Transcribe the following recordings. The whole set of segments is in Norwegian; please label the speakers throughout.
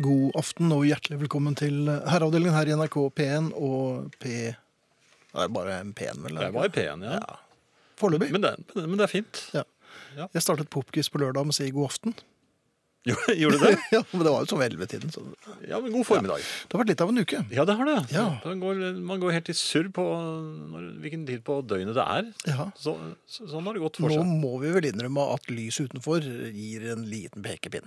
Speaker 1: God aften og hjertelig velkommen til Herreavdelingen her i NRK P1 og P... Det er bare en P1, vel? er
Speaker 2: Det
Speaker 1: det
Speaker 2: var i
Speaker 1: ikke?
Speaker 2: P1, ja.
Speaker 1: Foreløpig.
Speaker 2: Men, det, men det er fint.
Speaker 1: Ja.
Speaker 2: Ja.
Speaker 1: Jeg startet Popquiz på lørdag med å si god aften.
Speaker 2: Gjorde gjorde du det?
Speaker 1: ja, Men det var jo sånn ved ellevetiden, så det
Speaker 2: Ja, men god formiddag.
Speaker 1: har vært litt av en uke.
Speaker 2: Ja, det har det.
Speaker 1: Ja.
Speaker 2: Man, går, man går helt i surr på når, hvilken tid på døgnet det er.
Speaker 1: Ja.
Speaker 2: Så, så, sånn har det gått for
Speaker 1: Nå
Speaker 2: seg.
Speaker 1: må vi vel innrømme at lys utenfor gir en liten pekepinn.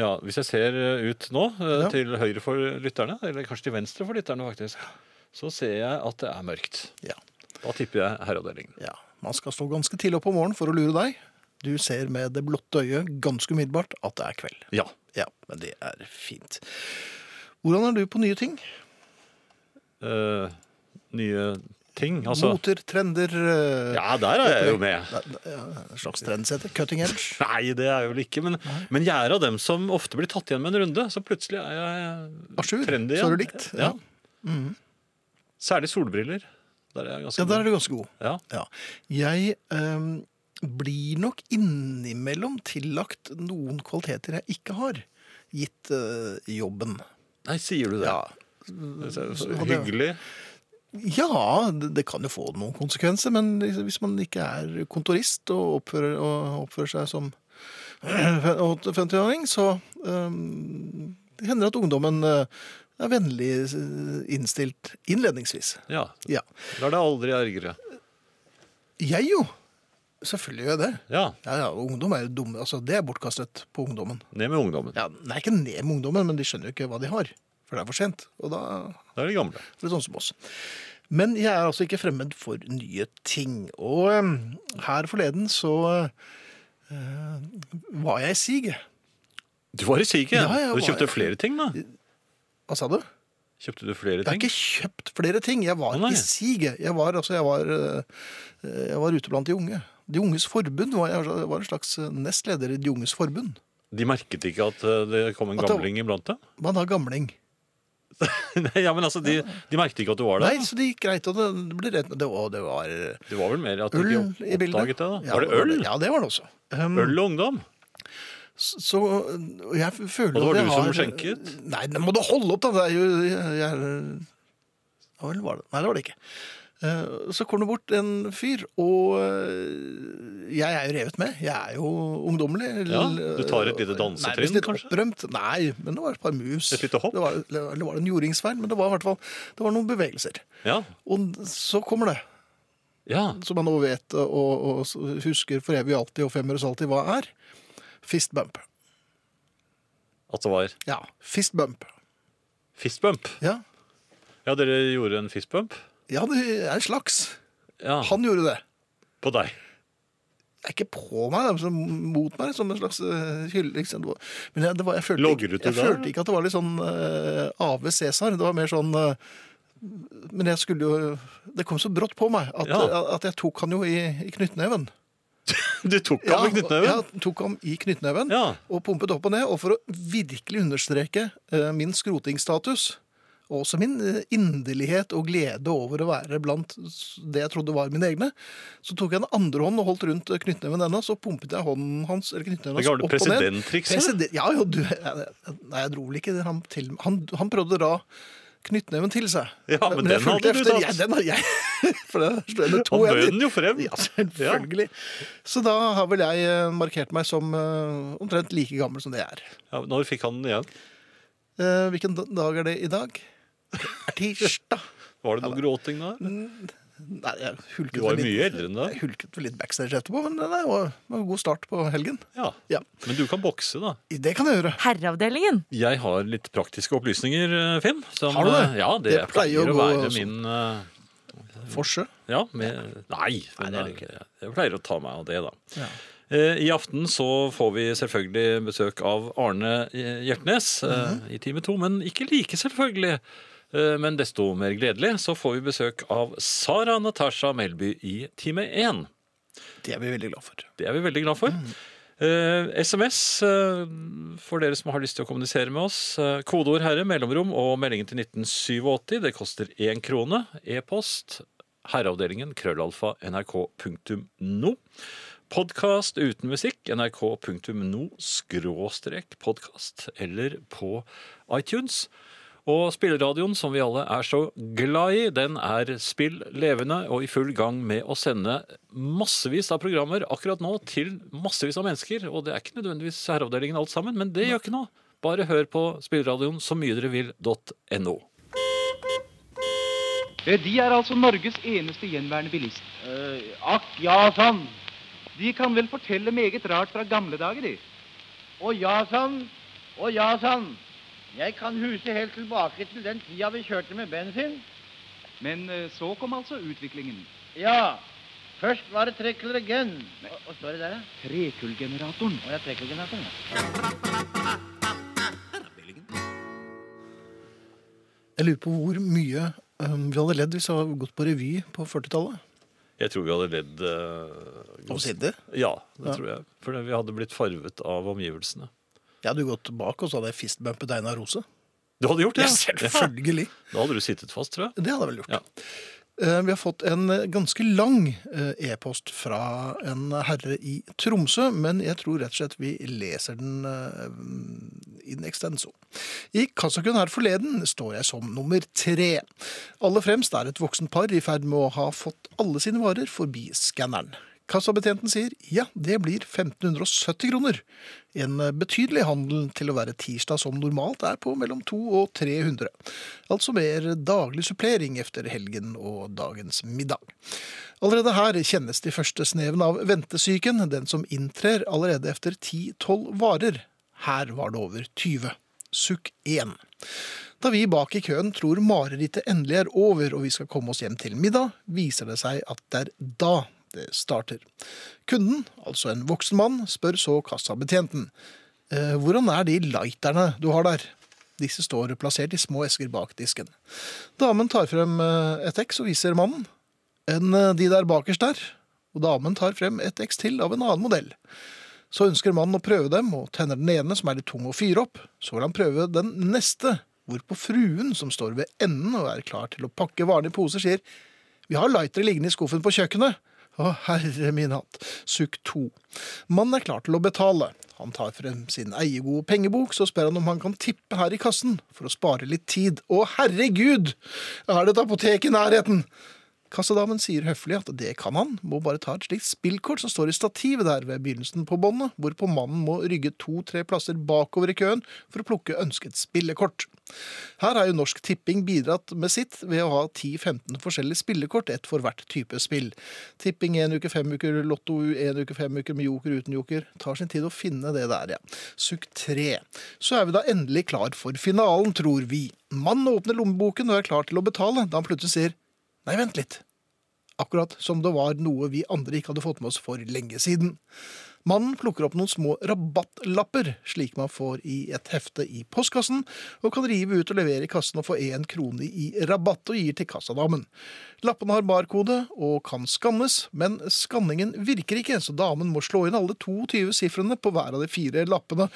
Speaker 2: Ja, hvis jeg ser ut nå, eh,
Speaker 1: Ja.
Speaker 2: til høyre for lytterne, eller kanskje til venstre for lytterne faktisk, så ser jeg at det er mørkt.
Speaker 1: Ja.
Speaker 2: Da tipper jeg herreavdelingen.
Speaker 1: ja. Man skal stå ganske tidlig opp om morgenen for å lure deg. Du ser med det blotte øyet ganske umiddelbart at det er kveld.
Speaker 2: Ja.
Speaker 1: Ja, men det er fint. Hvordan er du på nye ting?
Speaker 2: Eh, nye ting, altså.
Speaker 1: Moter, trender eh,
Speaker 2: Ja, der er jeg jo med.
Speaker 1: Nei, nei, ja, En slags trendsetter. Cutting edge.
Speaker 2: Nei, det er jeg vel ikke. Men, men jeg er av dem som ofte blir tatt igjen med en runde. Så plutselig er jeg
Speaker 1: Asjur,
Speaker 2: trendy.
Speaker 1: så er du likt.
Speaker 2: Ja.
Speaker 1: Ja.
Speaker 2: Særlig solbriller. Der er jeg ganske
Speaker 1: Ja, der er
Speaker 2: god.
Speaker 1: du ganske god.
Speaker 2: Ja.
Speaker 1: Ja. Jeg ehm, blir nok innimellom tillagt noen kvaliteter jeg ikke har, gitt eh, jobben.
Speaker 2: Nei, sier du det?
Speaker 1: Ja.
Speaker 2: Det er så
Speaker 1: Og det-
Speaker 2: Hyggelig.
Speaker 1: Ja, det det kan jo få noen konsekvenser, men hvis man ikke er kontorist og oppfører, og oppfører seg som 50-åring, så øhm, det hender det at ungdommen øh, er vennlig øh, innstilt innledningsvis.
Speaker 2: Ja.
Speaker 1: Ja.
Speaker 2: Da er det aldri ergere.
Speaker 1: Jeg jo! Selvfølgelig gjør jeg det.
Speaker 2: Ja.
Speaker 1: Ja, ja, ungdom er jo dumme. Altså, det er bortkastet på ungdommen.
Speaker 2: Ned med ungdommen.
Speaker 1: Ja, det er ikke ned med ungdommen, men de skjønner jo ikke hva de har. For det er for sent. Og da
Speaker 2: Da er de gamle.
Speaker 1: Det er sånn som oss. Men jeg er altså ikke fremmed for nye ting. Og eh, her forleden så eh, var jeg i siget.
Speaker 2: Du var i siget.
Speaker 1: Ja, jeg
Speaker 2: du
Speaker 1: var-
Speaker 2: kjøpte flere ting, da.
Speaker 1: Hva sa du?
Speaker 2: Kjøpte du flere
Speaker 1: Jeg har
Speaker 2: ting?
Speaker 1: ikke kjøpt flere ting. Jeg var
Speaker 2: Å, nei.
Speaker 1: i siget. Jeg var, altså, jeg, var, eh, jeg var ute blant de unge. De unges forbund var jeg, jeg var en slags nestleder i De unges forbund.
Speaker 2: De merket ikke at eh, det kom en
Speaker 1: At det-
Speaker 2: gamling iblant deg?
Speaker 1: Man har gamling.
Speaker 2: Nei, ja, men altså, de, de merket ikke at du var
Speaker 1: Nei,
Speaker 2: der?
Speaker 1: så det gikk greit. Og det, det ble rett. Det var, det var øl
Speaker 2: Det var vel mer at du
Speaker 1: i
Speaker 2: ikke
Speaker 1: bildet.
Speaker 2: oppdaget det? da.
Speaker 1: Ja,
Speaker 2: var det øl?
Speaker 1: Ja, det var det også. Um,
Speaker 2: Øl og ungdom?
Speaker 1: Så og jeg føler
Speaker 2: Og
Speaker 1: at jeg
Speaker 2: det var du som
Speaker 1: har-
Speaker 2: skjenket?
Speaker 1: Nei, nå må du holde opp, da! Det er jo jeg, jeg, Ja vel, var det Nei, det var det ikke. Eh, Så kom det bort en fyr, og eh, jeg er jo revet med. Jeg er jo ungdommelig.
Speaker 2: Ja, du tar et lite dansetrinn,
Speaker 1: Nærmest litt
Speaker 2: kanskje?
Speaker 1: opprømt. Nei, men det var et par mus.
Speaker 2: Et lite hopp?
Speaker 1: Det var, eller var det en jordingsfeil, men det var i hvert fall det var noen bevegelser.
Speaker 2: Ja.
Speaker 1: Og så kommer det,
Speaker 2: ja.
Speaker 1: som man nå vet og, og husker for evig og alltid og femmere alltid hva er. Fist bump.
Speaker 2: At det var
Speaker 1: Ja, fist bump.
Speaker 2: fistbump.
Speaker 1: Ja,
Speaker 2: Ja, dere gjorde en fistbump?
Speaker 1: ja det er en slags.
Speaker 2: Ja,
Speaker 1: Han gjorde det.
Speaker 2: på deg.
Speaker 1: Det er ikke på meg, det er som- mot meg, som en slags eh, hylle. Liksom. Det var- Men jeg, det var, jeg, følte,
Speaker 2: Logger
Speaker 1: ikke-
Speaker 2: du til
Speaker 1: jeg
Speaker 2: det,
Speaker 1: følte
Speaker 2: eller?
Speaker 1: ikke at det var litt sånn eh, Ave Cæsar. Det var mer sånn eh, Men jeg skulle jo Det kom så brått på meg at,
Speaker 2: Ja.
Speaker 1: at jeg tok han jo i, i knyttneven.
Speaker 2: Du tok ham med knyttneven?
Speaker 1: Ja, tok ham i knyttneven
Speaker 2: Ja.
Speaker 1: og pumpet opp og ned. Og for å virkelig understreke eh, min skrotingsstatus, og også min eh, inderlighet og glede over å være blant s- det jeg trodde var mine egne, så tok jeg den andre hånden og holdt rundt eh, knyttneven hennes, så pumpet jeg hånden hans eller knyttneven
Speaker 2: Det
Speaker 1: hans
Speaker 2: gamle
Speaker 1: opp og ned.
Speaker 2: presidenttrikset?
Speaker 1: President- ja, jo, du, jeg, nei, jeg dro vel ikke han til Han, han prøvde å dra knyttneven til seg.
Speaker 2: Ja, men
Speaker 1: jeg
Speaker 2: den
Speaker 1: fulgte
Speaker 2: hadde du
Speaker 1: efter.
Speaker 2: tatt.
Speaker 1: Ja, den har jeg. For det slo jeg med to
Speaker 2: Han bød
Speaker 1: hender.
Speaker 2: den jo frem.
Speaker 1: Ja, selvfølgelig. Så da har vel jeg eh, markert meg som eh, omtrent like gammel som det jeg er.
Speaker 2: Ja, når fikk han den igjen?
Speaker 1: Eh, Hvilken da- dag er det i dag? Det er tirsdag.
Speaker 2: Var det noe gråting da?
Speaker 1: Mm, Nei, jeg
Speaker 2: Du
Speaker 1: hulket,
Speaker 2: var
Speaker 1: vel
Speaker 2: jo
Speaker 1: litt,
Speaker 2: mye eldre enn det.
Speaker 1: jeg hulket vel litt backstage etterpå, men det var- det var en god start på helgen.
Speaker 2: Ja.
Speaker 1: Ja,
Speaker 2: Men du kan bokse, da.
Speaker 1: Det kan jeg gjøre.
Speaker 3: Herreavdelingen.
Speaker 2: Jeg har litt praktiske opplysninger, eh, Finn. som,
Speaker 1: Har du det?
Speaker 2: eh, Ja, det,
Speaker 1: Det pleier
Speaker 2: pleier,
Speaker 1: å
Speaker 2: å
Speaker 1: gå
Speaker 2: være
Speaker 1: sånn.
Speaker 2: min eh,
Speaker 1: Forsø.
Speaker 2: Ja, med, nei, men
Speaker 1: Nei, det er det
Speaker 2: jeg, jeg pleier å ta meg av det, da.
Speaker 1: Ja.
Speaker 2: Eh, I aften så får vi selvfølgelig besøk av Arne eh, Hjertnes eh, i time to, men ikke like selvfølgelig. Eh, Men desto mer gledelig så får vi besøk av Sara Natasha Melby i time én.
Speaker 1: Det er vi veldig glad for.
Speaker 2: Det er vi veldig glad for. Eh, SMS eh, for dere som har lyst til å kommunisere med oss. Eh, kodeord 'herre', mellomrom og meldingen til 1987. Det koster én krone. E-post herreavdelingen krøllalfa nrk.no. Podkast uten musikk nrk.no skråstrek podkast eller på iTunes. Og spilleradioen, som vi alle er så glad i, den er spill levende og i full gang med å sende massevis av programmer akkurat nå til massevis av mennesker. Og det er ikke nødvendigvis herreavdelingen alt sammen, men det gjør ikke noe. Bare hør på spilleradioen så mye dere vil.no.
Speaker 3: Eh, De er altså Norges eneste gjenværende bilist.
Speaker 4: Eh,
Speaker 3: akk, ja sann. De kan vel fortelle meget rart fra gamle dager, de.
Speaker 4: Å ja sann, å ja sann. Jeg kan huse helt tilbake til den tida vi kjørte med bensin.
Speaker 3: Men eh, så kom altså utviklingen.
Speaker 4: Ja. Først var det trekkelregen. Hva står det der, da?
Speaker 3: Trekullgeneratoren.
Speaker 4: Å, ja, trekkelgenatoren, ja.
Speaker 1: Jeg lurer på hvor mye um, vi hadde ledd hvis vi hadde gått på revy på 40-tallet.
Speaker 2: Jeg tror vi hadde ledd eh,
Speaker 1: Omsider?
Speaker 2: Ja, det
Speaker 1: Ja.
Speaker 2: tror jeg. For vi hadde blitt farvet av omgivelsene.
Speaker 1: Jeg hadde jo gått bak, og så hadde jeg fistbumpet Einar Rose.
Speaker 2: Du hadde gjort det?
Speaker 1: Ja, selvfølgelig.
Speaker 2: Da hadde du sittet fast, tror jeg.
Speaker 1: Det hadde jeg vel gjort.
Speaker 2: Ja.
Speaker 1: Eh, Vi har fått en eh, ganske lang eh, e-post fra en herre i Tromsø, men jeg tror rett og slett vi leser den eh, in extenso. I Kasakhun her forleden står jeg som nummer tre. Aller fremst er et voksen par i ferd med å ha fått alle sine varer forbi skanneren. Kassabetjenten sier ja, det blir 1570 kroner. En betydelig handel til å være tirsdag som normalt er på mellom 200 og 300. Altså mer daglig supplering efter helgen og dagens middag. Allerede her kjennes de første snevene av ventesyken, den som inntrer allerede efter 10-12 varer. Her var det over 20. Sukk 1. Da vi bak i køen tror marerittet endelig er over og vi skal komme oss hjem til middag, viser det seg at det er da det starter. Kunden, altså en voksen mann, spør så kassabetjenten. «Eh, Hvordan er de lighterne du har der? Disse står plassert i små esker bak disken. Damen tar frem eh, et X og viser mannen. En eh, de der bakerst der. Og damen tar frem et X til av en annen modell. Så ønsker mannen å prøve dem, og tenner den ene, som er litt tung å fyre opp. Så vil han prøve den neste, hvorpå fruen, som står ved enden og er klar til å pakke varene i poser, sier Vi har lightere liggende i skuffen på kjøkkenet. Å, herre min hatt. Sukk to. Mannen er klar til å betale. Han tar frem sin eiegode pengebok, så spør han om han kan tippe her i kassen for å spare litt tid. Å, herregud! Er det et apotek i nærheten? Kassadamen sier høflig at det kan han, må bare ta et slikt spillkort som står i stativet der ved begynnelsen på båndet, hvorpå mannen må rygge to-tre plasser bakover i køen for å plukke ønsket spillekort. Her har jo Norsk Tipping bidratt med sitt ved å ha 10-15 forskjellige spillekort, ett for hvert type spill. Tipping én uke, fem uker, Lotto én uke, fem uker, med joker uten joker. Tar sin tid å finne det der, ja. Sukk tre. Så er vi da endelig klar for finalen, tror vi. Mannen åpner lommeboken og er klar til å betale, da han plutselig sier Nei, vent litt. Akkurat som det var noe vi andre ikke hadde fått med oss for lenge siden. Mannen plukker opp noen små rabattlapper, slik man får i et hefte i postkassen, og kan rive ut og levere i kassen og få én krone i rabatt og gir til kassadamen. Lappene har barkode og kan skannes, men skanningen virker ikke, så damen må slå inn alle 22 sifrene på hver av de fire lappene.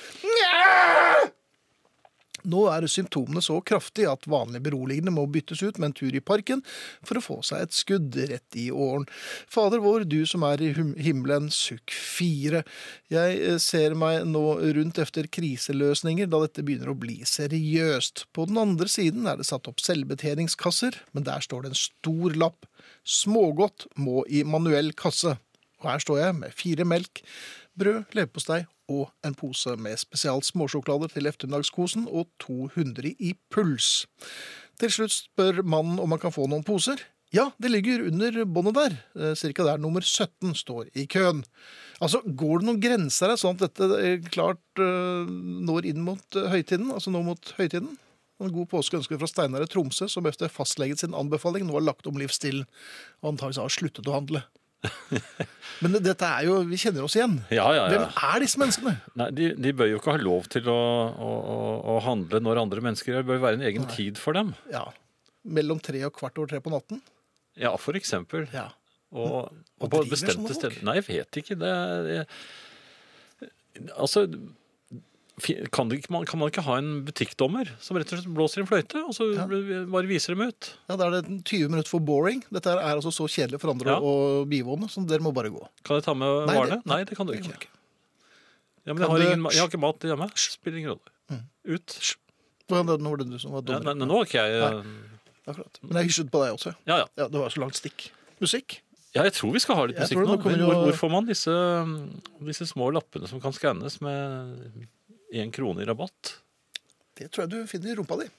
Speaker 1: Nå er symptomene så kraftige at vanlig beroligende må byttes ut med en tur i parken for å få seg et skudd rett i åren. Fader vår, du som er i hum- himmelen, sukk fire. Jeg eh, ser meg nå rundt efter kriseløsninger da dette begynner å bli seriøst. På den andre siden er det satt opp selvbetjeningskasser, men der står det en stor lapp. Smågodt må i manuell kasse. Og her står jeg med fire melk, brød, leverpostei og en pose med spesialt småsjokolader til ettermiddagskosen og 200 i puls. Til slutt spør mannen om han kan få noen poser. Ja, det ligger under båndet der, eh, cirka der nummer 17 står i køen. Altså, Går det noen grenser her, sånn at dette eh, klart eh, når inn mot eh, høytiden? Altså nå mot høytiden? En god påske ønsker vi fra Steinar i Tromsø, som etter fastleget sin anbefaling nå har lagt om livsstilen og antakeligvis har sluttet å handle. Men dette er jo Vi kjenner oss igjen.
Speaker 2: Ja, ja, ja.
Speaker 1: Hvem er disse menneskene?
Speaker 2: Nei, de, de bør jo ikke ha lov til å, å, å- å handle når andre mennesker gjør. Det bør være en egen tid for dem.
Speaker 1: Ja, Mellom tre og kvart over tre på natten?
Speaker 2: Ja, for eksempel.
Speaker 1: Ja.
Speaker 2: Og, og
Speaker 1: og
Speaker 2: på
Speaker 1: driver
Speaker 2: bestemte
Speaker 1: sånne folk?
Speaker 2: steder. Nei, jeg vet ikke. Det, er- altså fi- kan, det ikke, man- kan man ikke ha en butikkdommer som rett og slett blåser i en fløyte, og så
Speaker 1: Ja.
Speaker 2: bare viser dem ut?
Speaker 1: Ja, Da er det 20 minutter for boring. Dette her er altså så kjedelig for andre
Speaker 2: Ja.
Speaker 1: å bivåne, så dere må bare gå.
Speaker 2: Kan jeg ta med
Speaker 1: Nei,
Speaker 2: varene?
Speaker 1: det-
Speaker 2: Nei, det kan du
Speaker 1: det kan du
Speaker 2: ikke.
Speaker 1: ikke.
Speaker 2: Ja, men jeg
Speaker 1: Kan
Speaker 2: har,
Speaker 1: du- Mm.
Speaker 2: ingen, ma- jeg har ikke mat hjemme. Spiller ingen rolle. Ut.
Speaker 1: Ja, det- Nå var det du som var
Speaker 2: Ja,
Speaker 1: dommer.
Speaker 2: nei, nei, nå har ikke jeg
Speaker 1: Akkurat. Men jeg hysjet på deg også.
Speaker 2: Ja, ja.
Speaker 1: Ja, Det var så langt stikk. Musikk.
Speaker 2: Ja, jeg tror vi skal ha litt
Speaker 1: Jeg
Speaker 2: musikk
Speaker 1: tror
Speaker 2: nå.
Speaker 1: det kommer
Speaker 2: Men
Speaker 1: jo-
Speaker 2: hvor, hvor får man disse, mm, disse små lappene som kan skannes med én krone i rabatt?
Speaker 1: Det tror jeg du finner i rumpa di.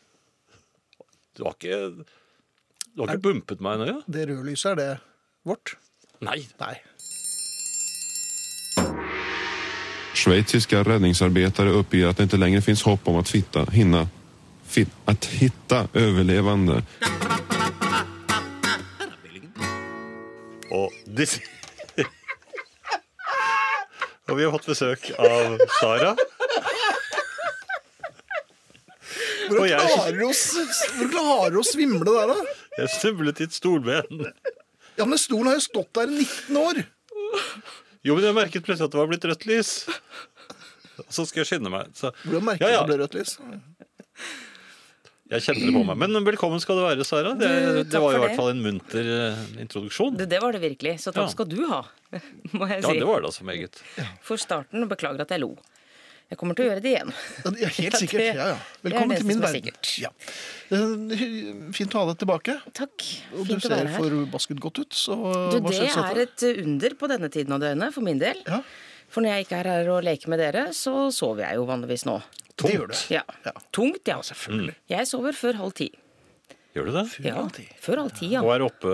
Speaker 2: Du har ikke, du har ikke bumpet meg i øyet?
Speaker 1: Det røde lyset, er det vårt?
Speaker 2: Nei.
Speaker 1: Nei.
Speaker 5: Schweiziska räddningsarbetare uppger att det inte längre finns hopp om att fitta, hinna, fit, att hitta överlevande.
Speaker 2: Og disse Og vi har fått besøk av Sara. Og jeg-
Speaker 1: Klarer du å s- Hvor klarer du å svimle der, da?
Speaker 2: Jeg snublet i et stolben.
Speaker 1: Ja, men stolen har jo stått der i 19 år!
Speaker 2: Jo, men jeg merket plutselig at det var blitt rødt lys. Og så skal jeg skynde meg. Så,
Speaker 1: Hvordan merker du
Speaker 2: ja, ja,
Speaker 1: at det ble rødt lys?
Speaker 2: Jeg kjente det på meg. Men velkommen skal du være, Sara. Det,
Speaker 6: Du,
Speaker 2: det
Speaker 6: takk
Speaker 2: var
Speaker 6: for
Speaker 2: i hvert
Speaker 6: det.
Speaker 2: fall en munter eh, introduksjon.
Speaker 6: Det, det var det virkelig. Så takk
Speaker 2: Ja.
Speaker 6: skal du ha, må jeg
Speaker 2: Ja,
Speaker 6: si.
Speaker 2: det var det altså meget.
Speaker 6: For starten, og beklager at jeg lo. Jeg kommer til å gjøre det igjen.
Speaker 1: Ja, det er helt
Speaker 6: Ja, det-
Speaker 1: sikkert. Ja, ja.
Speaker 6: det er
Speaker 1: Velkommen
Speaker 6: det
Speaker 1: til min
Speaker 6: som er
Speaker 1: verden.
Speaker 6: sikkert.
Speaker 1: Ja. Eh, hy- Fint å ha deg tilbake.
Speaker 6: Takk.
Speaker 1: Og du
Speaker 6: Fint å
Speaker 1: ser
Speaker 6: være her.
Speaker 1: forbasket godt ut, så eh,
Speaker 6: Du,
Speaker 1: hva
Speaker 6: det
Speaker 1: skjer
Speaker 6: er
Speaker 1: etter?
Speaker 6: et under på denne tiden av døgnet, for min del.
Speaker 1: Ja.
Speaker 6: For når jeg ikke er her og leker med dere, så sover jeg jo vanligvis nå.
Speaker 1: Det gjør du.
Speaker 6: Ja.
Speaker 1: Ja.
Speaker 6: Tungt, ja. Selvfølgelig. Jeg sover før halv ti.
Speaker 2: Mm. Gjør du det?
Speaker 6: Ja,
Speaker 1: halv ti.
Speaker 6: før halv ti, ja.
Speaker 2: Og er oppe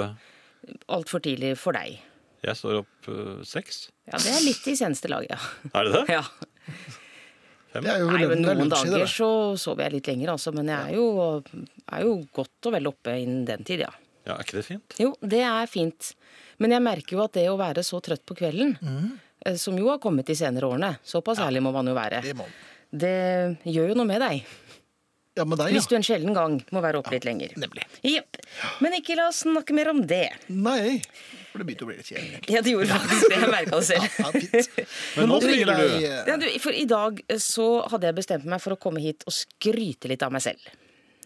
Speaker 6: Altfor tidlig for deg.
Speaker 2: Jeg står opp eh, seks.
Speaker 6: Ja, det er litt i seneste lag, ja.
Speaker 2: Er det det?
Speaker 6: ja.
Speaker 1: Det er jo
Speaker 6: Nei, men
Speaker 1: relevant, det er
Speaker 6: Noen
Speaker 1: lunsj i det,
Speaker 6: dager
Speaker 1: det.
Speaker 6: så sover jeg litt lenger, altså. Men jeg er jo, er jo godt og vel oppe innen den tid, ja.
Speaker 2: Ja, Er ikke det fint?
Speaker 6: Jo, det er fint. Men jeg merker jo at det å være så trøtt på kvelden, eh, som jo har kommet de senere årene, såpass ærlig må man jo være,
Speaker 1: Det må man.
Speaker 6: det gjør jo noe med deg.
Speaker 1: Ja, med deg,
Speaker 6: Hvis du
Speaker 1: ja.
Speaker 6: en sjelden gang må være oppe litt lenger.
Speaker 1: Nemlig.
Speaker 6: Jepp. Men ikke la oss snakke mer om det.
Speaker 1: Nei, for det begynte å bli litt kjedelig.
Speaker 6: Ja, det gjorde faktisk det. Jeg merka det selv.
Speaker 1: Ja, fint.
Speaker 2: Men nå
Speaker 1: du ringer
Speaker 2: smiler du.
Speaker 1: deg, eh,
Speaker 6: Ja, du, for i dag eh, så hadde jeg bestemt meg for å komme hit og skryte litt av meg selv.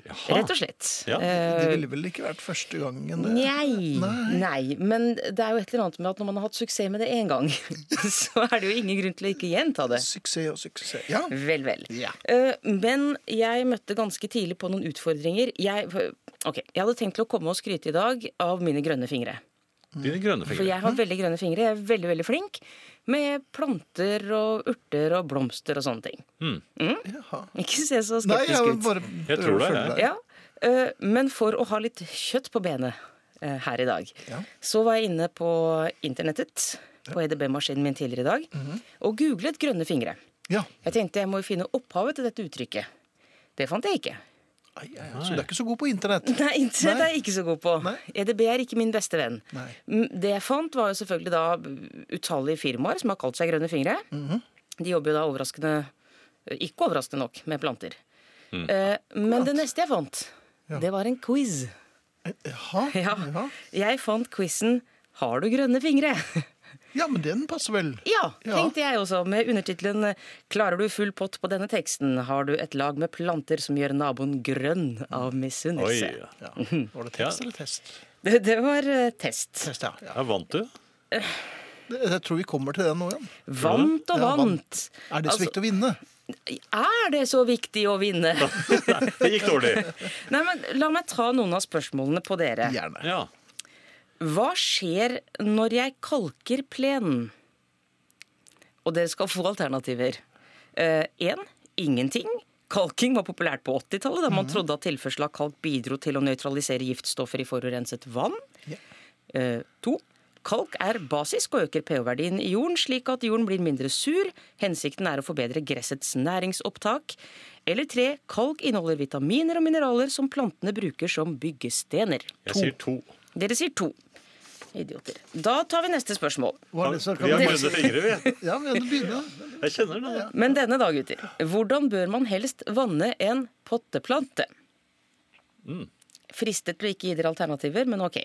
Speaker 2: Jaha.
Speaker 6: Rett og slett.
Speaker 2: Ja.
Speaker 1: Det
Speaker 6: Eh,
Speaker 1: ville vel ikke vært første gangen eh, det
Speaker 6: Nei, nei. Men det er jo et eller annet med at når man har hatt suksess med det én gang, så er det jo ingen grunn til å ikke gjenta det.
Speaker 1: Suksess og suksess. Ja.
Speaker 6: Vel, vel.
Speaker 1: Ja.
Speaker 6: Eh, Men jeg møtte ganske tidlig på noen utfordringer. Jeg, ok, jeg hadde tenkt til å komme og skryte i dag av mine grønne fingre.
Speaker 2: Dine grønne
Speaker 6: For
Speaker 2: fingre.
Speaker 6: jeg har veldig grønne fingre. Jeg er veldig, veldig flink med planter og urter og blomster og sånne ting.
Speaker 1: Jaha.
Speaker 6: Ikke se så
Speaker 1: Nei,
Speaker 6: skeptisk
Speaker 1: jeg
Speaker 6: ut.
Speaker 1: bare
Speaker 2: Jeg tror det,
Speaker 1: følger
Speaker 2: jeg.
Speaker 1: deg.
Speaker 6: Ja, eh, men for å ha litt kjøtt på benet eh, her i dag,
Speaker 1: Ja.
Speaker 6: så var jeg inne på internettet, på EDB-maskinen min tidligere i dag,
Speaker 1: Mhm.
Speaker 6: og googlet grønne fingre.
Speaker 1: Ja.
Speaker 6: Jeg tenkte jeg må jo finne opphavet til dette uttrykket. Det fant jeg ikke.
Speaker 1: Ai, ai, ai. Så du er ikke så god på internett?
Speaker 6: Nei, internett
Speaker 1: Nei.
Speaker 6: er jeg ikke så god på.
Speaker 1: Nei.
Speaker 6: EDB er ikke min beste venn.
Speaker 1: Nei.
Speaker 6: Mm, Det jeg fant, var jo selvfølgelig da utallige firmaer som har kalt seg Grønne fingre.
Speaker 1: Mhm.
Speaker 6: De jobber jo da overraskende eh, Ikke overraskende nok med planter. Eh, men det neste jeg fant, det var en quiz.
Speaker 1: Jaha.
Speaker 6: Ja.
Speaker 1: Ja.
Speaker 6: Jeg fant quizen 'Har du grønne fingre?'
Speaker 1: ja, men den passer vel.
Speaker 6: Ja,
Speaker 1: Ja.
Speaker 6: tenkte jeg også, med undertittelen 'Klarer du full pott på denne teksten?' 'Har du et lag med planter som gjør naboen grønn av
Speaker 2: Oi.
Speaker 6: misunnelse?'
Speaker 1: Ja. Var det test
Speaker 2: Ja.
Speaker 1: eller test?
Speaker 6: Det, det var eh, Mhm. test.
Speaker 1: Test, ja. ja.
Speaker 2: Jeg vant du.
Speaker 1: Det- Jeg tror vi kommer til den nå igjen.
Speaker 6: Vant og
Speaker 1: Ja,
Speaker 6: vant.
Speaker 1: Er det så
Speaker 2: Altså,
Speaker 1: viktig å vinne?
Speaker 6: Er det så viktig å vinne?
Speaker 2: Nei, det gikk dårlig.
Speaker 6: Nei, men La meg ta noen av spørsmålene på dere.
Speaker 1: Gjerne.
Speaker 2: Ja.
Speaker 6: Hva skjer når jeg kalker plenen? Og dere skal få alternativer. Én ingenting. Kalking var populært på 80-tallet, da man trodde at tilførsel av kalk bidro til å nøytralisere giftstoffer i forurenset vann.
Speaker 1: Ja.
Speaker 6: Eh, to. Kalk er basisk og øker pH-verdien i jorden, slik at jorden blir mindre sur. Hensikten er å forbedre gressets næringsopptak. Eller tre. Kalk inneholder vitaminer og mineraler som plantene bruker som byggestener.
Speaker 2: Jeg sier to.
Speaker 6: Dere sier to. Idioter. Da tar vi neste spørsmål.
Speaker 1: Var det så
Speaker 2: Vi har grønne fingre, vi.
Speaker 1: Ja, men du begynner.
Speaker 2: Jeg kjenner det.
Speaker 6: Men denne da, gutter. Hvordan bør man helst vanne en potteplante? Fristet til å ikke gi dere alternativer, men ok.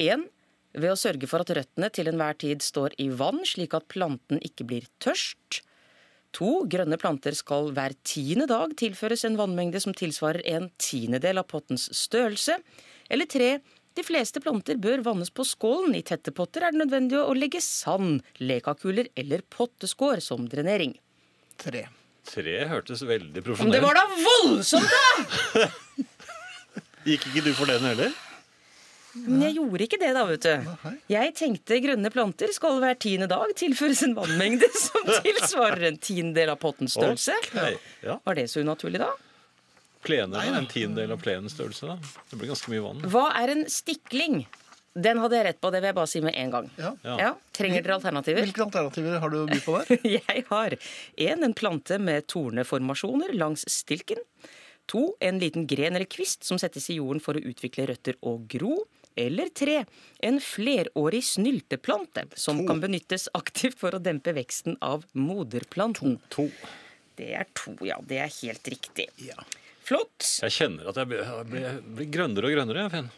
Speaker 6: 1. Ved å sørge for at røttene til enhver tid står i vann, slik at planten ikke blir tørst. To, grønne planter skal hver tiende dag tilføres en vannmengde som tilsvarer en tiendedel av pottens størrelse. Eller tre, de fleste planter bør vannes på skålen. I tette potter er det nødvendig å legge sand, lekakuler eller potteskår som drenering.
Speaker 1: Tre.
Speaker 2: Tre hørtes veldig
Speaker 6: Men det
Speaker 2: profesjonelt
Speaker 6: var da voldsomt, da!
Speaker 2: Gikk ikke du for den heller?
Speaker 6: Men jeg gjorde ikke det, da, vet du. Jeg tenkte grønne planter skal hver tiende dag tilføres en vannmengde som tilsvarer en tiendedel av pottens størrelse.
Speaker 2: Ok, ja.
Speaker 6: Var det så unaturlig, da?
Speaker 2: Plenen, da, En tiendedel av plenens størrelse. da. Det blir ganske mye vann.
Speaker 6: Hva er en stikling? Den hadde jeg rett på, det vil jeg bare si med en gang.
Speaker 1: Ja.
Speaker 2: Ja.
Speaker 6: trenger dere alternativer?
Speaker 1: Hvilke alternativer har du å by på der?
Speaker 6: Jeg har en, en plante med torneformasjoner langs stilken. To, en liten gren eller kvist som settes i jorden for å utvikle røtter og gro. Eller tre, en flerårig snylteplante som kan benyttes aktivt for å dempe veksten av moderplanten.
Speaker 2: To.
Speaker 6: Det er to, ja. Det er helt riktig.
Speaker 1: Ja.
Speaker 6: Flott.
Speaker 2: Jeg kjenner at jeg blir, jeg blir, jeg blir grønnere og grønnere. jeg, Finn.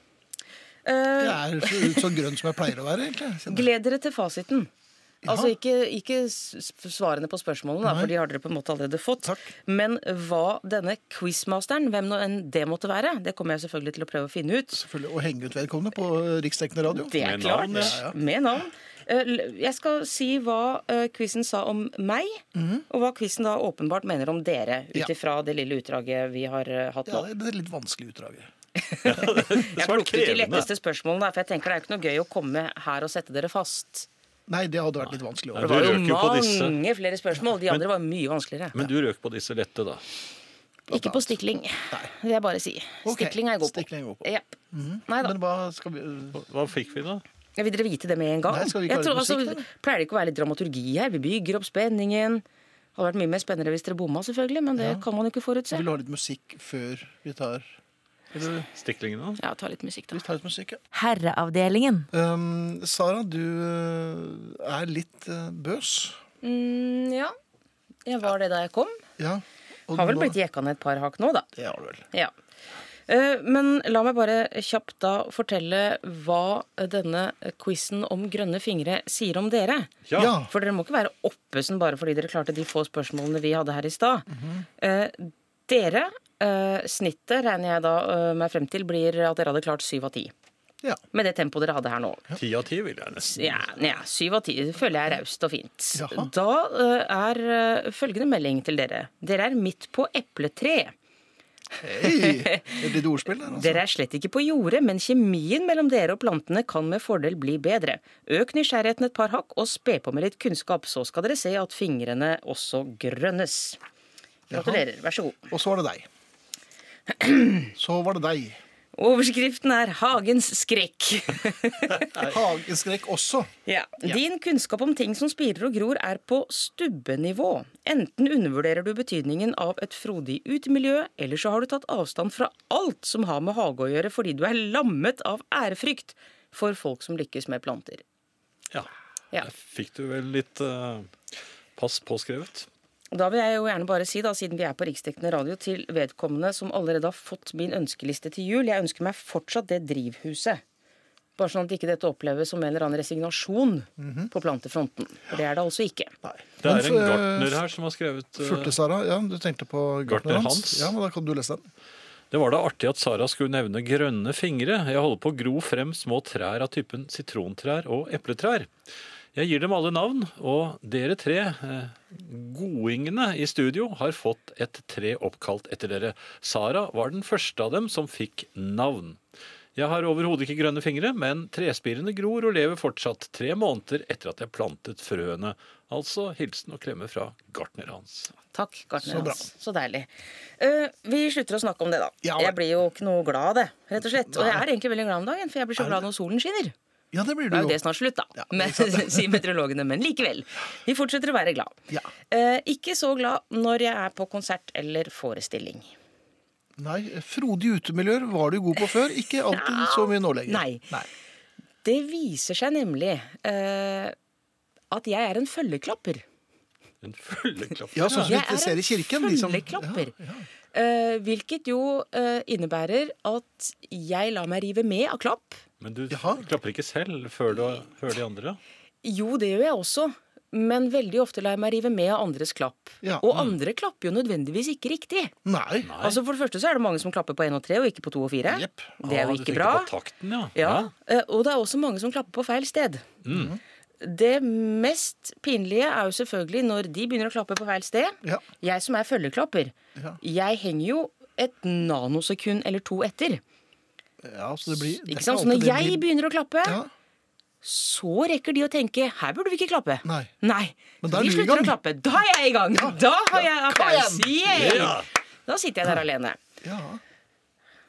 Speaker 6: Eh,
Speaker 1: Jeg er så, så grønn som jeg pleier å være, egentlig. jeg kjenner.
Speaker 6: Gled dere til fasiten. Altså ikke, ikke s- svarene på spørsmålene, da, for de har dere på en måte allerede fått.
Speaker 1: Takk.
Speaker 6: Men hva denne quizmasteren, hvem nå enn det måtte være, det kommer jeg selvfølgelig til å prøve å finne ut.
Speaker 1: Selvfølgelig å henge ut vedkommende på eh, riksdekkende radio.
Speaker 6: Det er
Speaker 2: Med
Speaker 6: klart.
Speaker 2: navn,
Speaker 1: ja.
Speaker 6: Med navn. Eh, l- Jeg skal si hva eh, quizen sa om meg, og hva quizen da åpenbart mener om dere,
Speaker 1: Mhm. Ja.
Speaker 6: ut ifra det lille utdraget vi har eh, hatt
Speaker 1: Ja,
Speaker 6: nå.
Speaker 1: det er litt vanskelig utdraget.
Speaker 2: Det
Speaker 6: Jeg
Speaker 2: var
Speaker 6: plukket ut de
Speaker 2: krevende.
Speaker 6: letteste spørsmålene, da, for jeg tenker det er ikke noe gøy å komme her og sette dere fast.
Speaker 1: Nei, det hadde vært litt vanskelig. Å
Speaker 2: Nei,
Speaker 6: Det
Speaker 2: Du
Speaker 6: var jo
Speaker 2: røk jo på disse.
Speaker 6: mange flere spørsmål. De andre var mye vanskeligere.
Speaker 2: Men du røk på disse lette, da.
Speaker 6: Ikke på stikling. Det vil jeg bare si.
Speaker 1: Ok,
Speaker 6: Stikling er jeg god på.
Speaker 1: stikling er jeg god på.
Speaker 6: Japp. Nei da.
Speaker 1: Men hva skal vi eh,
Speaker 2: Hva fikk vi, da?
Speaker 6: Jeg vil dere vite det med en gang.
Speaker 1: Nei, skal vi ikke ha
Speaker 6: jeg
Speaker 1: litt
Speaker 6: tror, altså,
Speaker 1: musikk, da?
Speaker 6: pleier det ikke å være litt dramaturgi her? Vi bygger opp spenningen. Hadde vært mye mer spennende hvis dere bomma, selvfølgelig, men det kan man jo ikke forutse.
Speaker 1: Vil du ha litt musikk før vi tar
Speaker 2: Stiklingene? da?
Speaker 6: Ja, ta litt musikk,
Speaker 1: Vi
Speaker 6: da.
Speaker 1: tar litt musikk, ja.
Speaker 7: Herreavdelingen.
Speaker 1: Um, Sara, du eh, er litt eh, bøs.
Speaker 6: Mm, ja. Jeg var det da jeg kom.
Speaker 1: Ja. Og
Speaker 6: Har vel
Speaker 1: nå-
Speaker 6: blitt jekka ned et par hakk nå, da.
Speaker 1: Det har du vel.
Speaker 6: Ja. Eh, Men la meg bare kjapt da fortelle hva denne quizen om grønne fingre sier om dere.
Speaker 2: Ja.
Speaker 1: Ja.
Speaker 6: For dere må ikke være oppesen bare fordi dere klarte de få spørsmålene vi hadde her i stad. Eh, dere, eh, snittet regner jeg da eh, meg frem til, blir at dere hadde klart syv av ti.
Speaker 1: Ja.
Speaker 6: Med det tempoet dere hadde her nå.
Speaker 2: Ti av ti, vil jeg nesten.
Speaker 6: Ja, ja, syv av ti det føler jeg er raust og fint.
Speaker 1: Jaha.
Speaker 6: Da eh, er eh, følgende melding til dere. Dere er midt på epletreet.
Speaker 1: Hei! Et lite ordspill der, altså.
Speaker 6: Dere er slett ikke på jordet, men kjemien mellom dere og plantene kan med fordel bli bedre. Øk nysgjerrigheten et par hakk, og spe på med litt kunnskap, så skal dere se at fingrene også grønnes. Gratulerer. Vær så god.
Speaker 1: Og så var det deg. Så var det deg.
Speaker 6: Overskriften er 'Hagens skrekk'.
Speaker 1: Hageskrekk også.
Speaker 6: Ja. Din kunnskap om ting som spirer og gror er på stubbenivå. Enten undervurderer du betydningen av et frodig utemiljø, eller så har du tatt avstand fra alt som har med hage å gjøre fordi du er lammet av ærefrykt for folk som lykkes med planter.
Speaker 2: Ja.
Speaker 6: Ja.
Speaker 2: Der Fikk du vel litt eh, pass påskrevet?
Speaker 6: Da vil jeg jo gjerne bare si, da, siden vi er på riksdekkende radio, til vedkommende som allerede har fått min ønskeliste til jul. Jeg ønsker meg fortsatt det drivhuset. Bare sånn at ikke dette oppleves som en eller annen resignasjon
Speaker 1: Mhm.
Speaker 6: på plantefronten. For det er det altså ikke.
Speaker 2: Det
Speaker 1: Men
Speaker 2: er en
Speaker 1: for-
Speaker 2: gartner her som har skrevet eh,
Speaker 1: Furte, Sara. Ja, du tenkte på
Speaker 2: Gartner
Speaker 1: gartner
Speaker 2: Hans.
Speaker 1: hans. Ja, men Da kan du lese den.
Speaker 2: Det var da artig at Sara skulle nevne grønne fingre. Jeg holder på å gro frem små trær av typen sitrontrær og epletrær. Jeg gir dem alle navn, og dere tre, eh, godingene i studio, har fått et tre oppkalt etter dere. Sara var den første av dem som fikk navn. Jeg har overhodet ikke grønne fingre, men trespirene gror og lever fortsatt tre måneder etter at jeg plantet frøene. Altså hilsen og klemme fra gartner hans.
Speaker 6: Takk, gartner
Speaker 1: Så bra.
Speaker 6: Hans. Så deilig. Eh, vi slutter å snakke om det, da.
Speaker 1: Ja, vel.
Speaker 6: jeg blir jo ikke noe glad av det, rett og slett. Og jeg er egentlig veldig glad om dagen, for jeg blir så glad når solen skinner.
Speaker 1: Ja, det blir
Speaker 6: Nå
Speaker 1: du
Speaker 6: er jo
Speaker 1: jo.
Speaker 6: det snart slutt, da.
Speaker 1: Ja,
Speaker 6: men, sier meteorologene. Men likevel. Vi fortsetter å være glad.
Speaker 1: Ja.
Speaker 6: Eh, ikke så glad når jeg er på konsert eller forestilling.
Speaker 1: Nei, Frodige utemiljøer var du god på før. Ikke alltid så mye nå lenger.
Speaker 6: Nei.
Speaker 1: Nei.
Speaker 6: Det viser seg nemlig eh, at jeg er en følgeklapper.
Speaker 2: En følgeklapp.
Speaker 1: Ja, sånn som
Speaker 6: Jeg
Speaker 1: vi
Speaker 6: er
Speaker 1: ser i kirken. liksom.
Speaker 6: en
Speaker 1: de som-
Speaker 6: følgeklapper. Eh, hvilket jo eh, innebærer at jeg lar meg rive med av klapp.
Speaker 2: Men du
Speaker 1: Jaha.
Speaker 2: klapper ikke selv før, du, før de andre?
Speaker 6: Jo, det gjør jeg også. Men veldig ofte lar jeg meg rive med av andres klapp.
Speaker 1: Ja.
Speaker 6: Og andre klapper jo nødvendigvis ikke riktig.
Speaker 1: Nei.
Speaker 6: Altså For det første så er det mange som klapper på én og tre, og ikke på to og fire.
Speaker 1: Jepp.
Speaker 6: Det er
Speaker 2: Ah,
Speaker 6: jo
Speaker 2: du
Speaker 6: ikke
Speaker 2: tenker
Speaker 6: bra.
Speaker 2: På takten, ja.
Speaker 6: Ja, eh, Og det er også mange som klapper på feil sted. Det mest pinlige er jo selvfølgelig når de begynner å klappe på feil sted.
Speaker 1: Ja.
Speaker 6: Jeg som er følgeklapper,
Speaker 1: Ja.
Speaker 6: jeg henger jo et nanosekund eller to etter.
Speaker 1: Ja, så det blir det er
Speaker 6: Ikke sant? Så
Speaker 1: alltid
Speaker 6: når
Speaker 1: det
Speaker 6: jeg
Speaker 1: blir-
Speaker 6: begynner å klappe,
Speaker 1: Ja.
Speaker 6: så rekker de å tenke 'her burde vi ikke klappe'.
Speaker 1: Nei. Men da er
Speaker 6: De
Speaker 1: du i
Speaker 6: slutter å
Speaker 1: gang.
Speaker 6: klappe. Da er jeg i gang! Da har jeg applaus! Yay!
Speaker 2: Ja.
Speaker 6: Da sitter jeg der alene.
Speaker 1: Ja.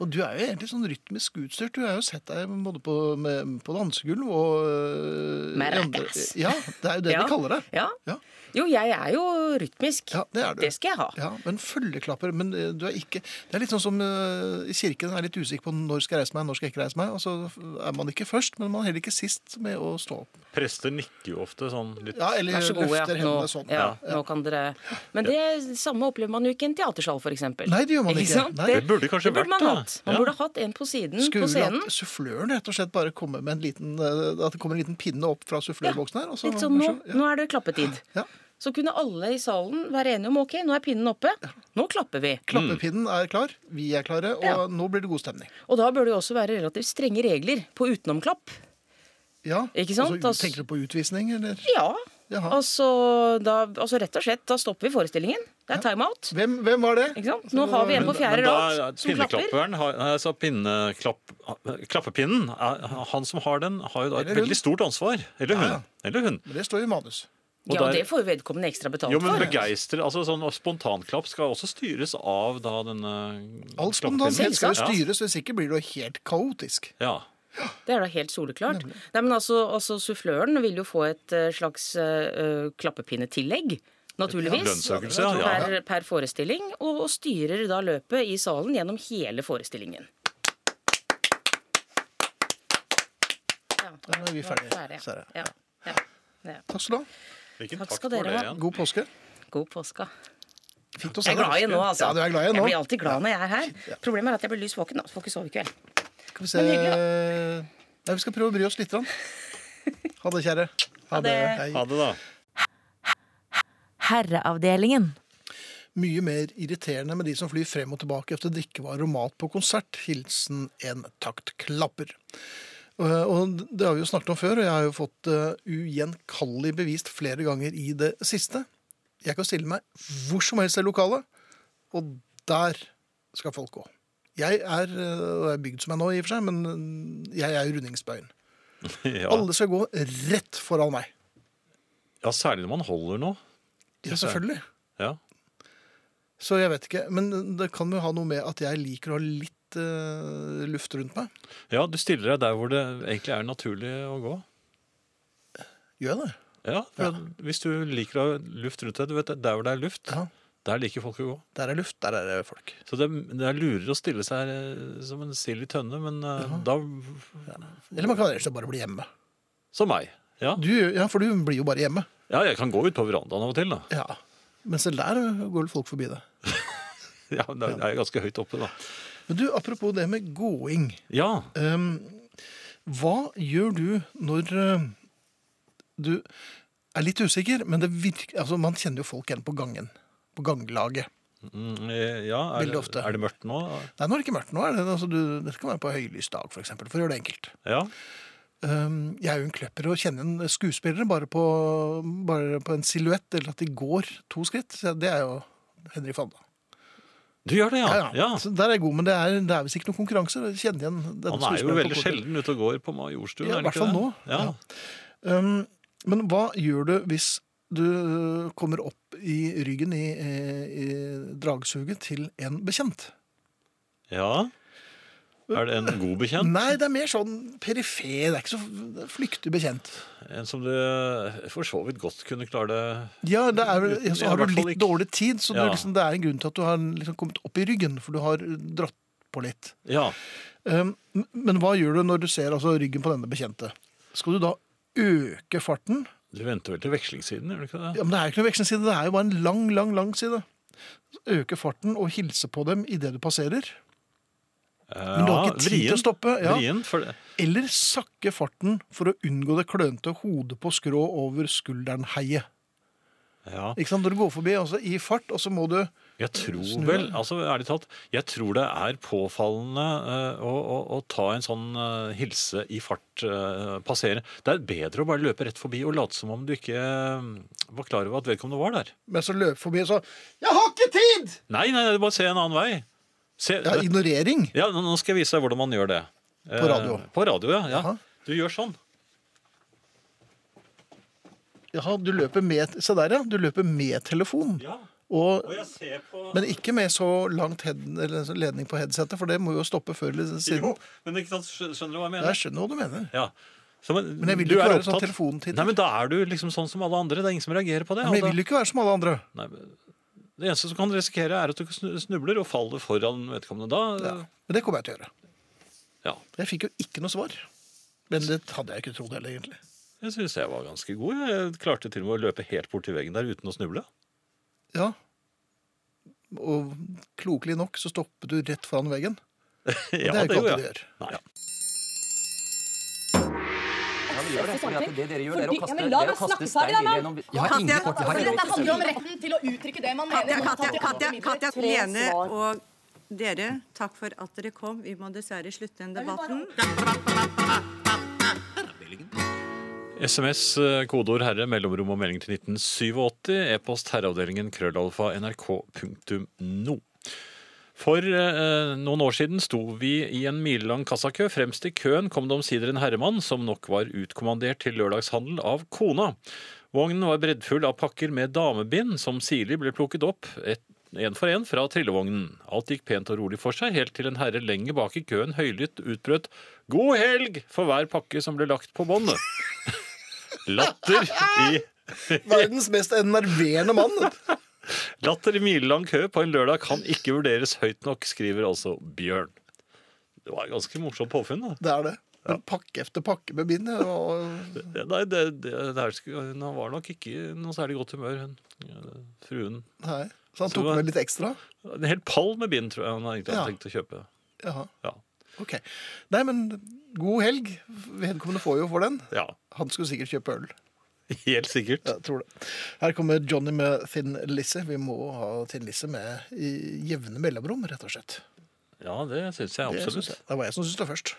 Speaker 1: Og du er jo egentlig sånn rytmisk utstyrt. Du har jo sett deg både på, med, på dansegulv og øh,
Speaker 6: Med
Speaker 1: i andre-
Speaker 6: rackers.
Speaker 1: Ja, det er jo det
Speaker 6: Ja.
Speaker 1: de kaller det.
Speaker 6: Ja.
Speaker 1: Ja.
Speaker 6: Jo, jeg er jo rytmisk.
Speaker 1: Ja, det er du.
Speaker 6: Det skal jeg ha.
Speaker 1: Ja, men følgeklapper Men eh, du er ikke Det er litt sånn som eh, i kirken er litt usikker på når skal jeg reise meg, når skal jeg ikke reise meg. Og så er man ikke først, men man er heller ikke sist med å stå opp.
Speaker 2: Prester nikker jo ofte sånn litt.
Speaker 1: Ja, eller
Speaker 6: Vær så god, ja.
Speaker 1: Eh, løfter
Speaker 6: Nå,
Speaker 1: hendene sånn.
Speaker 6: ja, nå kan dere Men det samme opplever man jo ikke i en teatersal, f.eks.
Speaker 1: Nei, det gjør man ikke.
Speaker 6: sant?
Speaker 1: Nei.
Speaker 2: Det burde kanskje
Speaker 6: det burde
Speaker 2: vært,
Speaker 6: man
Speaker 2: da.
Speaker 6: hatt. Man
Speaker 2: Ja.
Speaker 6: burde hatt en på siden
Speaker 1: Skulle
Speaker 6: på scenen.
Speaker 1: at suffløren rett og slett bare komme med en liten eh, At det kommer en liten pinne opp fra sufflørboksen her. Og så,
Speaker 6: Litt sånn, nå,
Speaker 1: ja.
Speaker 6: nå er det klappetid.
Speaker 1: Ja.
Speaker 6: Så kunne alle i salen være enige om ok, nå er pinnen oppe, nå klapper vi.
Speaker 1: Klappepinnen er klar, vi er klare, og
Speaker 6: Ja.
Speaker 1: nå blir det god stemning.
Speaker 6: Og da bør det jo også være relativt strenge regler på utenomklapp.
Speaker 1: Ja,
Speaker 6: Ikke sant?
Speaker 1: og så
Speaker 6: Altså-
Speaker 1: tenker du på utvisning, eller?
Speaker 6: Ja,
Speaker 1: Jaha.
Speaker 6: altså, da, altså rett og slett, da stopper vi forestillingen. Det er timeout.
Speaker 1: Hvem, hvem var det?
Speaker 6: Ikke sant? Nå har vi en på fjerde
Speaker 2: Men da er
Speaker 6: rad som klapper.
Speaker 2: pinneklapperen, har- nei, altså pinneklapp, klappepinnen, er- han som har den, har jo da et
Speaker 1: Eller hun.
Speaker 2: veldig stort ansvar. Eller hun.
Speaker 1: Ja, ja.
Speaker 2: Eller hun.
Speaker 1: Men Det står i manus.
Speaker 2: Og
Speaker 6: Ja,
Speaker 2: der-
Speaker 6: det får jo vedkommende ekstra betalt
Speaker 2: Jo, men
Speaker 6: for.
Speaker 2: begeistre, altså sånn Spontanklapp skal også styres av da denne
Speaker 1: All
Speaker 2: klappepinnen.
Speaker 1: spontanitet skal jo
Speaker 2: Ja.
Speaker 1: styres, hvis ikke blir det jo helt kaotisk.
Speaker 2: Ja.
Speaker 6: Det er da helt soleklart. Nei, men altså, altså Suffløren vil jo få et eh, slags eh, klappepinnetillegg, naturligvis.
Speaker 2: Lønnsøkelse, ja. ja.
Speaker 6: Per, per forestilling, og, og styrer da løpet i salen gjennom hele forestillingen. Ja,
Speaker 1: Da er vi ferdige.
Speaker 6: ferdig.
Speaker 1: Så er det.
Speaker 6: Ja. Ja. Ja.
Speaker 1: Takk skal du ha.
Speaker 2: Hvilken
Speaker 6: Takk
Speaker 2: takt
Speaker 6: skal
Speaker 2: var
Speaker 6: dere
Speaker 2: det
Speaker 6: ha.
Speaker 2: igjen?
Speaker 1: God påske.
Speaker 6: God påske.
Speaker 1: Fint å se
Speaker 6: Jeg er glad igjen nå, altså.
Speaker 1: Ja, du er glad igjen nå.
Speaker 6: Jeg blir alltid glad når jeg er her. Problemet er at jeg blir lys våken. da. Får ikke sove i kveld.
Speaker 1: Skal vi se
Speaker 6: Men hyggelig,
Speaker 1: Nei, vi skal prøve å bry oss litt. grann. Ha det, kjære.
Speaker 6: Ha det.
Speaker 1: Hei.
Speaker 2: Ha det, da.
Speaker 7: Herreavdelingen.
Speaker 1: Mye mer irriterende med de som flyr frem og tilbake etter drikkevarer og mat på konsert. Hilsen en taktklapper. Eh, Og det har vi jo snakket om før, og jeg har jo fått eh, ugjenkallelig bevist flere ganger i det siste. Jeg kan stille meg hvor som helst i lokalet, og der skal folk gå. Jeg er, eh, og er bygd som jeg er nå i og for seg, men eh, jeg er jo rundingsbøyen.
Speaker 2: Ja.
Speaker 1: Alle skal gå rett foran meg.
Speaker 2: ja, særlig når man holder nå.
Speaker 1: Ja, selvfølgelig.
Speaker 2: Ja.
Speaker 1: Så jeg vet ikke. Men det kan jo ha noe med at jeg liker å ha litt eh, luft rundt meg.
Speaker 2: ja, du stiller deg der hvor det egentlig er naturlig å gå.
Speaker 1: Gjør jeg det?
Speaker 2: Ja, for Hvis du liker å ha luft rundt deg, du vet, der hvor det er luft,
Speaker 1: Ja.
Speaker 2: der liker folk å gå.
Speaker 1: Der er luft, der er det folk.
Speaker 2: Så det, det er lurere å stille seg eh, som en sild i tønne, men eh, da
Speaker 1: Eller man kan ellers bare bli hjemme.
Speaker 2: Som meg. Ja.
Speaker 1: Du, ja, for du blir jo bare hjemme.
Speaker 2: ja, jeg kan gå ut på verandaen av og til, da.
Speaker 1: Ja. Men selv der går det folk forbi deg.
Speaker 2: Ja, da er jeg ganske høyt oppe, da.
Speaker 1: Men du, apropos det med gåing.
Speaker 2: Ja.
Speaker 1: Ehm, hva gjør du når eh, du er litt usikker, men det virker, altså, man kjenner jo folk igjen på gangen. På ganglaget.
Speaker 2: Mm, eh, ja er,
Speaker 1: Veldig ofte.
Speaker 2: er det mørkt nå?
Speaker 1: Nei, nå er det ikke mørkt. nå er Det, altså, du, det kan være på høylys dag, for eksempel, for å gjøre det enkelt.
Speaker 2: Ja.
Speaker 1: Um, jeg er jo en kløpper og kjenner en skuespillere bare på, bare på en silhuett, eller at de går to skritt. Så Det er jo Henry Fanda.
Speaker 2: Du gjør det, ja. ja.
Speaker 1: Så der er jeg god, men det er, det er visst ikke noen konkurranse. Jeg kjenner igjen denne
Speaker 2: Han er jo
Speaker 1: skuespilleren på
Speaker 2: veldig
Speaker 1: kortet.
Speaker 2: sjelden ute og går på Majorstuen.
Speaker 1: Ja,
Speaker 2: er han
Speaker 1: i hvert fall
Speaker 2: ikke
Speaker 1: nå.
Speaker 2: det? Ja.
Speaker 1: Ja. Um, men hva gjør du hvis du eh, kommer opp i ryggen i, eh, i, i dragsuget til en bekjent?
Speaker 2: Ja. Er det en god bekjent?
Speaker 1: Nei, det er mer sånn perifer. Det er ikke så flyktig bekjent.
Speaker 2: En som du eh, for så vidt godt kunne klare det
Speaker 1: Ja, det er, vel-
Speaker 2: Uten-
Speaker 1: så
Speaker 2: ja,
Speaker 1: har
Speaker 2: i
Speaker 1: du
Speaker 2: hvert fall
Speaker 1: litt
Speaker 2: ikke-
Speaker 1: dårlig tid, så det,
Speaker 2: Ja.
Speaker 1: er liksom, det er en grunn til at du har liksom kommet opp i ryggen, for du har eh, dratt på litt.
Speaker 2: Ja.
Speaker 1: Um, m- men hva gjør du når du ser altså, ryggen på denne bekjente? Skal du da øke farten?
Speaker 2: Du venter vel til vekslingssiden, gjør du ikke det?
Speaker 1: Ja, men Det er jo ikke noen vekslingsside, det er jo bare en lang, lang, lang side. Øke farten og hilse på dem idet du passerer.
Speaker 2: Ja,
Speaker 1: Men du har ikke tid til
Speaker 2: vrien.
Speaker 1: å stoppe. Ja.
Speaker 2: Vrien, for det.
Speaker 1: Eller sakke farten for å unngå det klønete hodet på skrå over skulderen-heiet.
Speaker 2: Ja.
Speaker 1: Ikke sant? Når du går forbi altså, i fart, og så må du
Speaker 2: Jeg tror
Speaker 1: Snur
Speaker 2: vel,
Speaker 1: deg.
Speaker 2: altså ærlig talt, jeg tror det er påfallende eh, å, å, å ta en sånn eh, hilse i fart, eh, passere. Det er bedre å bare løpe rett forbi og late som om du ikke eh, var klar over at vedkommende var der.
Speaker 1: mens du løper forbi, så 'Jeg har ikke tid!'
Speaker 2: Nei, nei, nei, bare se en annen vei. Se,
Speaker 1: Ja, ignorering.
Speaker 2: ja, nå nå skal jeg vise deg hvordan man gjør det. Eh,
Speaker 1: radio.
Speaker 2: På radio, ja. ja.
Speaker 1: Jaha.
Speaker 2: Du gjør sånn.
Speaker 1: Jaha, du løper med Se der, ja. Du løper med telefon.
Speaker 2: Ja,
Speaker 1: Og,
Speaker 2: og jeg ser på...
Speaker 1: men ikke med så langt head, eller så ledning på headsetet, for det må jo stoppe før eller siden.
Speaker 2: Jo, men ikke sant, skjø- skjønner du hva jeg mener?
Speaker 1: Jeg skjønner hva du mener.
Speaker 2: Ja. Så, men,
Speaker 1: Men jeg vil
Speaker 2: du
Speaker 1: ikke
Speaker 2: er
Speaker 1: være sånn
Speaker 2: opptatt-
Speaker 1: telefontitter.
Speaker 2: Nei, men da er du liksom sånn som alle andre. Det er ingen som reagerer på det.
Speaker 1: Men jeg
Speaker 2: og da-
Speaker 1: vil jo ikke være som alle andre.
Speaker 2: Nei, men det eneste som kan risikere, er at du snu- snubler og faller foran vedkommende. Da,
Speaker 1: Men det kommer jeg til å gjøre.
Speaker 2: ja.
Speaker 1: Jeg fikk jo ikke noe svar. Men det hadde jeg ikke trodd heller, egentlig.
Speaker 2: Jeg syns jeg var ganske god. Jeg klarte til og med å løpe helt bort til veggen der uten å snuble.
Speaker 1: Ja. Og klokelig nok så stoppet du rett foran veggen.
Speaker 2: Ja,
Speaker 1: det er jo ikke
Speaker 2: gjorde
Speaker 1: alltid du
Speaker 2: jeg.
Speaker 1: gjør.
Speaker 2: Nei.
Speaker 7: Ja, vi gjør det, fordi at det dere gjør, dere å
Speaker 8: Fordi- ja,
Speaker 7: kaste,
Speaker 8: men la
Speaker 7: dere
Speaker 8: meg
Speaker 7: å kaste
Speaker 8: snakke
Speaker 7: stein
Speaker 8: ferdig, da,
Speaker 7: videre gjennom Jeg har ingen kort, jeg har
Speaker 8: Dette
Speaker 7: ingen
Speaker 8: handler om retten til å uttrykke det man
Speaker 9: Katja,
Speaker 8: mener.
Speaker 9: Katja, Katja, Katja,
Speaker 8: Tre
Speaker 9: Lene
Speaker 8: svar.
Speaker 9: og dere, takk for at dere kom. Vi må dessverre slutte den debatten.
Speaker 2: SMS, eh, kodeord 'herre', mellomrom og melding til 1987. E-post herreavdelingen krøllalfa nrk.no. For eh, noen år siden sto vi i en milelang kassakø. Fremst i køen kom det omsider en herremann som nok var utkommandert til lørdagshandel av kona. Vognen var breddfull av pakker med damebind som sirlig ble plukket opp et, en for en fra trillevognen. Alt gikk pent og rolig for seg, helt til en herre lenger bak i køen høylytt utbrøt 'God helg!' for hver pakke som ble lagt på båndet. Latter i
Speaker 1: Verdens mest enerverende mann.
Speaker 2: Latter i milelang kø på en lørdag kan ikke vurderes høyt nok, skriver altså Bjørn. Det var et ganske morsomt påfunn. da.
Speaker 1: Det er det. Men pakke efter pakke med bind. Og...
Speaker 2: Det, nei, det, det, det her skulle, hun var nok ikke i noe særlig godt humør, hun eh, fruen.
Speaker 1: Nei. Så han
Speaker 2: Så det
Speaker 1: tok
Speaker 2: var-
Speaker 1: med litt ekstra.
Speaker 2: En hel pall med bind, tror jeg han egentlig hadde
Speaker 1: Ja.
Speaker 2: tenkt å kjøpe.
Speaker 1: Jaha.
Speaker 2: Ja.
Speaker 1: Ok. Nei, men god helg. Vedkommende får jo for den.
Speaker 2: ja,
Speaker 1: Han skulle sikkert kjøpe øl.
Speaker 2: helt sikkert.
Speaker 1: Jeg tror det. Her kommer Johnny med Thin Lizzie. Vi må ha Thin Lizzie med i jevne mellomrom, rett og slett.
Speaker 2: Ja, det syns jeg
Speaker 1: Det
Speaker 2: absolutt.
Speaker 1: synes jeg. Det var jeg som syntes det først.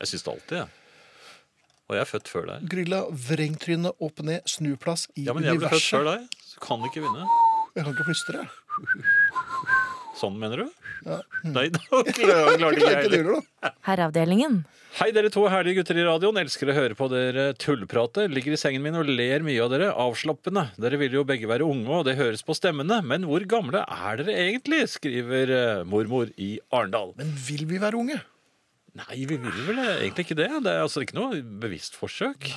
Speaker 2: Jeg syns det alltid, jeg. Og jeg er født før deg.
Speaker 1: Grilla vrengtrynet opp og ned, snuplass i
Speaker 2: Ja, men jeg ble født
Speaker 1: universet.
Speaker 2: før deg, så kan du ikke vinne.
Speaker 1: Jeg kan ikke plystre. jeg.
Speaker 2: Sånn mener du? Nei, da klarte ikke jeg
Speaker 1: Ikke
Speaker 2: heller.
Speaker 1: det heller, da.
Speaker 10: Herreavdelingen.
Speaker 2: Hei, dere to herlige gutter i radioen. Elsker å høre på dere tullprate. Ligger i sengen min og ler mye av dere. Avslappende. Dere vil jo begge være unge, og det høres på stemmene. Men hvor gamle er dere egentlig? skriver eh, mormor i Arendal.
Speaker 1: Men vil vi være unge?
Speaker 2: Nei, vi vil vel egentlig ikke det. Det er altså ikke noe bevisst forsøk.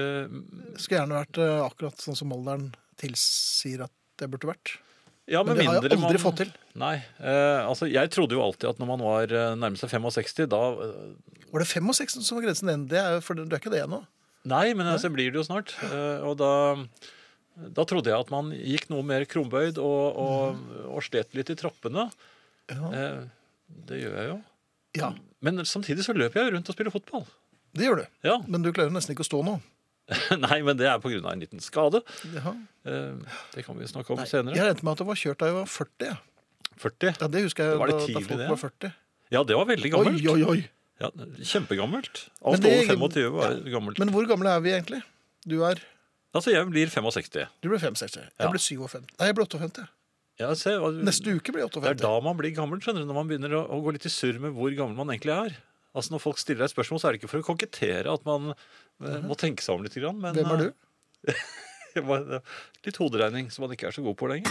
Speaker 2: Eh,
Speaker 1: Skulle gjerne vært eh, akkurat sånn som alderen tilsier at jeg burde vært.
Speaker 2: Ja,
Speaker 1: Men
Speaker 2: med
Speaker 1: det har jeg
Speaker 2: mindre
Speaker 1: aldri
Speaker 2: man-
Speaker 1: fått til.
Speaker 2: Nei. eh, altså, jeg trodde jo alltid at når man var eh, nærmest seg 65, da eh,
Speaker 1: Var det 65 som var grensen den? Det er, jo- for du er ikke det ennå.
Speaker 2: Nei, men altså, jeg blir det jo snart. Eh, Og da, da trodde jeg at man gikk noe mer krumbøyd og, og,
Speaker 1: Mm.
Speaker 2: og slet litt i trappene. Eh, Det gjør jeg jo.
Speaker 1: Ja,
Speaker 2: Men samtidig så løper jeg jo rundt og spiller fotball.
Speaker 1: det gjør du.
Speaker 2: Ja,
Speaker 1: Men du klarer nesten ikke å stå nå.
Speaker 2: Nei, men det er pga. en liten skade.
Speaker 1: Jaha.
Speaker 2: Eh, Det kan vi snakke om
Speaker 1: Jeg
Speaker 2: senere.
Speaker 1: regnet med at det var kjørt da jeg var 40. jeg.
Speaker 2: 40.
Speaker 1: Ja, det husker jeg
Speaker 2: Var det
Speaker 1: da, da
Speaker 2: tidlig,
Speaker 1: folk
Speaker 2: det?
Speaker 1: var 40.
Speaker 2: Ja, det var veldig
Speaker 1: Oi,
Speaker 2: gammelt.
Speaker 1: oi, oi.
Speaker 2: Ja, kjempegammelt. Alt
Speaker 1: Men det-
Speaker 2: over 25 var gammelt.
Speaker 1: Men hvor gamle er vi egentlig? Du er
Speaker 2: Altså, jeg blir 65.
Speaker 1: Du ble 65.
Speaker 2: Ja.
Speaker 1: Jeg ble 57. Nei, jeg ble 58.
Speaker 2: Ja, se, hva-
Speaker 1: Neste uke blir jeg
Speaker 2: Det er
Speaker 1: 58.
Speaker 2: da man blir gammel, skjønner du, når man begynner å, å gå litt i surr med hvor gammel man egentlig er. Altså Når folk stiller deg et spørsmål, så er det ikke for å kokettere at man eh, må tenke seg om litt. Grann, men,
Speaker 1: Mhm. Hvem er du?
Speaker 2: eh, bare, eh, Litt hoderegning som man ikke er så god på lenger.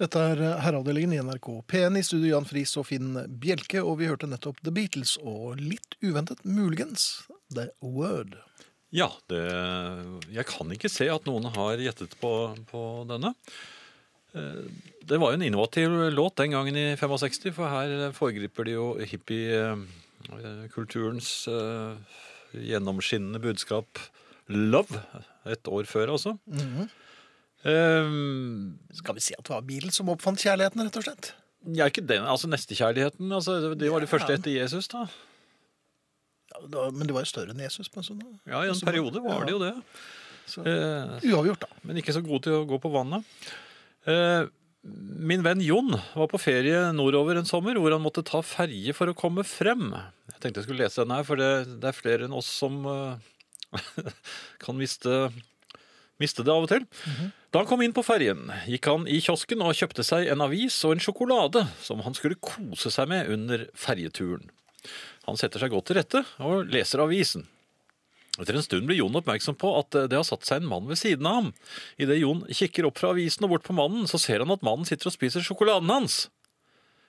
Speaker 1: Dette er eh, Herreavdelingen i NRK P1 i studio Jan Friis og Finn Bjelke, og vi hørte nettopp The Beatles og litt uventet, muligens, The Word.
Speaker 2: Ja, det, Jeg kan ikke se at noen har gjettet på, på denne. Eh, Det var jo en innovativ låt den gangen i 65, for her foregriper de jo hippiekulturens gjennomskinnende budskap Love, et år før altså. Eh,
Speaker 1: Skal vi si at det var Beatles som oppfant kjærligheten, rett og slett?
Speaker 2: Ja, ikke den, altså nestekjærligheten. Altså, det var det første etter Jesus, da.
Speaker 1: Ja, det var, men det var jo større enn Jesus på en sånn
Speaker 2: Ja, I en
Speaker 1: Så-
Speaker 2: periode var det jo det.
Speaker 1: Så-
Speaker 2: Eh,
Speaker 1: Uavgjort, da.
Speaker 2: men ikke så god til å gå på vannet. Eh, Min venn Jon var på ferie nordover en sommer, hvor han måtte ta ferje for å komme frem. Jeg tenkte jeg skulle lese denne her, for det, det er flere enn oss som eh, kan miste, miste det av og til. Da han kom inn på ferjen, gikk han i kiosken og kjøpte seg en avis og en sjokolade som han skulle kose seg med under ferjeturen. Han setter seg godt til rette og leser avisen. Etter en stund blir Jon oppmerksom på at eh, det har satt seg en mann ved siden av ham. Idet Jon kikker opp fra avisen og bort på mannen, så ser han at mannen sitter og spiser sjokoladen hans.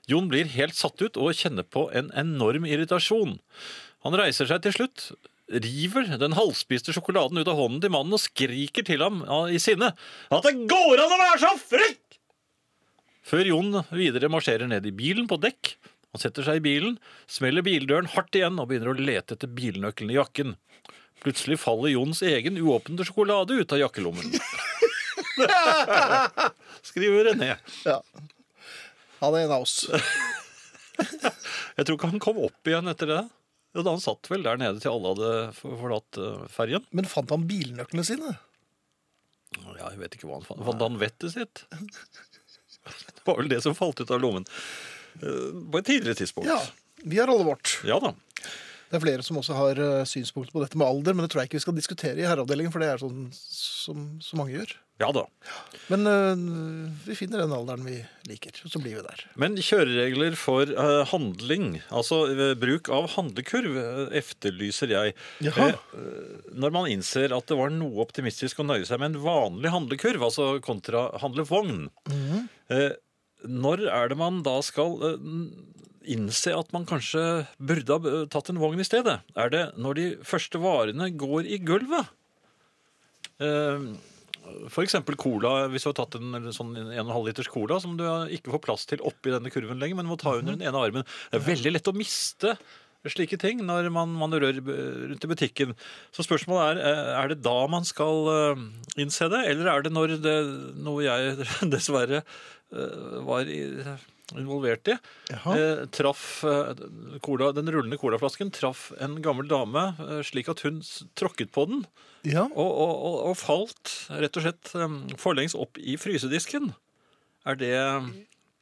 Speaker 2: Jon blir helt satt ut og kjenner på en enorm irritasjon. Han reiser seg til slutt, river den halvspiste sjokoladen ut av hånden til mannen og skriker til ham ja, i sinne at det går an å være så frekk! Før Jon videre marsjerer ned i bilen på dekk. Han setter seg i bilen, smeller bildøren hardt igjen og begynner å lete etter bilnøkkelen i jakken. Plutselig faller Jons egen uåpnede sjokolade ut av jakkelommen. Skriver René.
Speaker 1: Ja. Han er en av oss.
Speaker 2: Jeg tror ikke han kom opp igjen etter det. Jo, da han satt vel der nede til alle hadde for- forlatt eh, ferjen.
Speaker 1: Men fant han bilnøklene sine?
Speaker 2: Ja, jeg vet ikke hva han fant. Fant han vettet sitt? Det var vel det som falt ut av lommen. eh, På et tidligere tidspunkt.
Speaker 1: Ja. Vi har alle vårt.
Speaker 2: Ja da.
Speaker 1: Det er flere som også har eh, synspunkter på dette med alder, men det tror jeg ikke vi skal diskutere i herreavdelingen, for det er sånn som så mange gjør.
Speaker 2: Ja da.
Speaker 1: Men eh, vi finner den alderen vi liker, og så blir vi der.
Speaker 2: Men kjøreregler for eh, handling, altså eh, bruk av handlekurv, eh, efterlyser jeg.
Speaker 1: Jaha.
Speaker 2: Eh, når man innser at det var noe optimistisk å nøye seg med en vanlig handlekurv, altså kontra handlevogn, eh, når er det man da skal eh, innse at man kanskje burde ha eh, tatt en vogn i stedet? Er det når de første varene går i gulvet? Eh, for eksempel cola, hvis du har tatt en eller sånn 1,5 liters cola som du ikke får plass til oppi denne kurven lenger, men må ta under den ene armen. Det er veldig lett å miste slike ting når man manøvrerer b- rundt i butikken. Så spørsmålet er, eh, er det da man skal eh, innse det, eller er det når det, noe jeg dessverre eh, var i, involvert i,
Speaker 1: Jaha.
Speaker 2: eh, traff eh, cola, den rullende colaflasken, traff en gammel dame eh, slik at hun s- tråkket på den,
Speaker 1: Ja.
Speaker 2: og, og, og, og falt rett og slett um, forlengs opp i frysedisken. Er det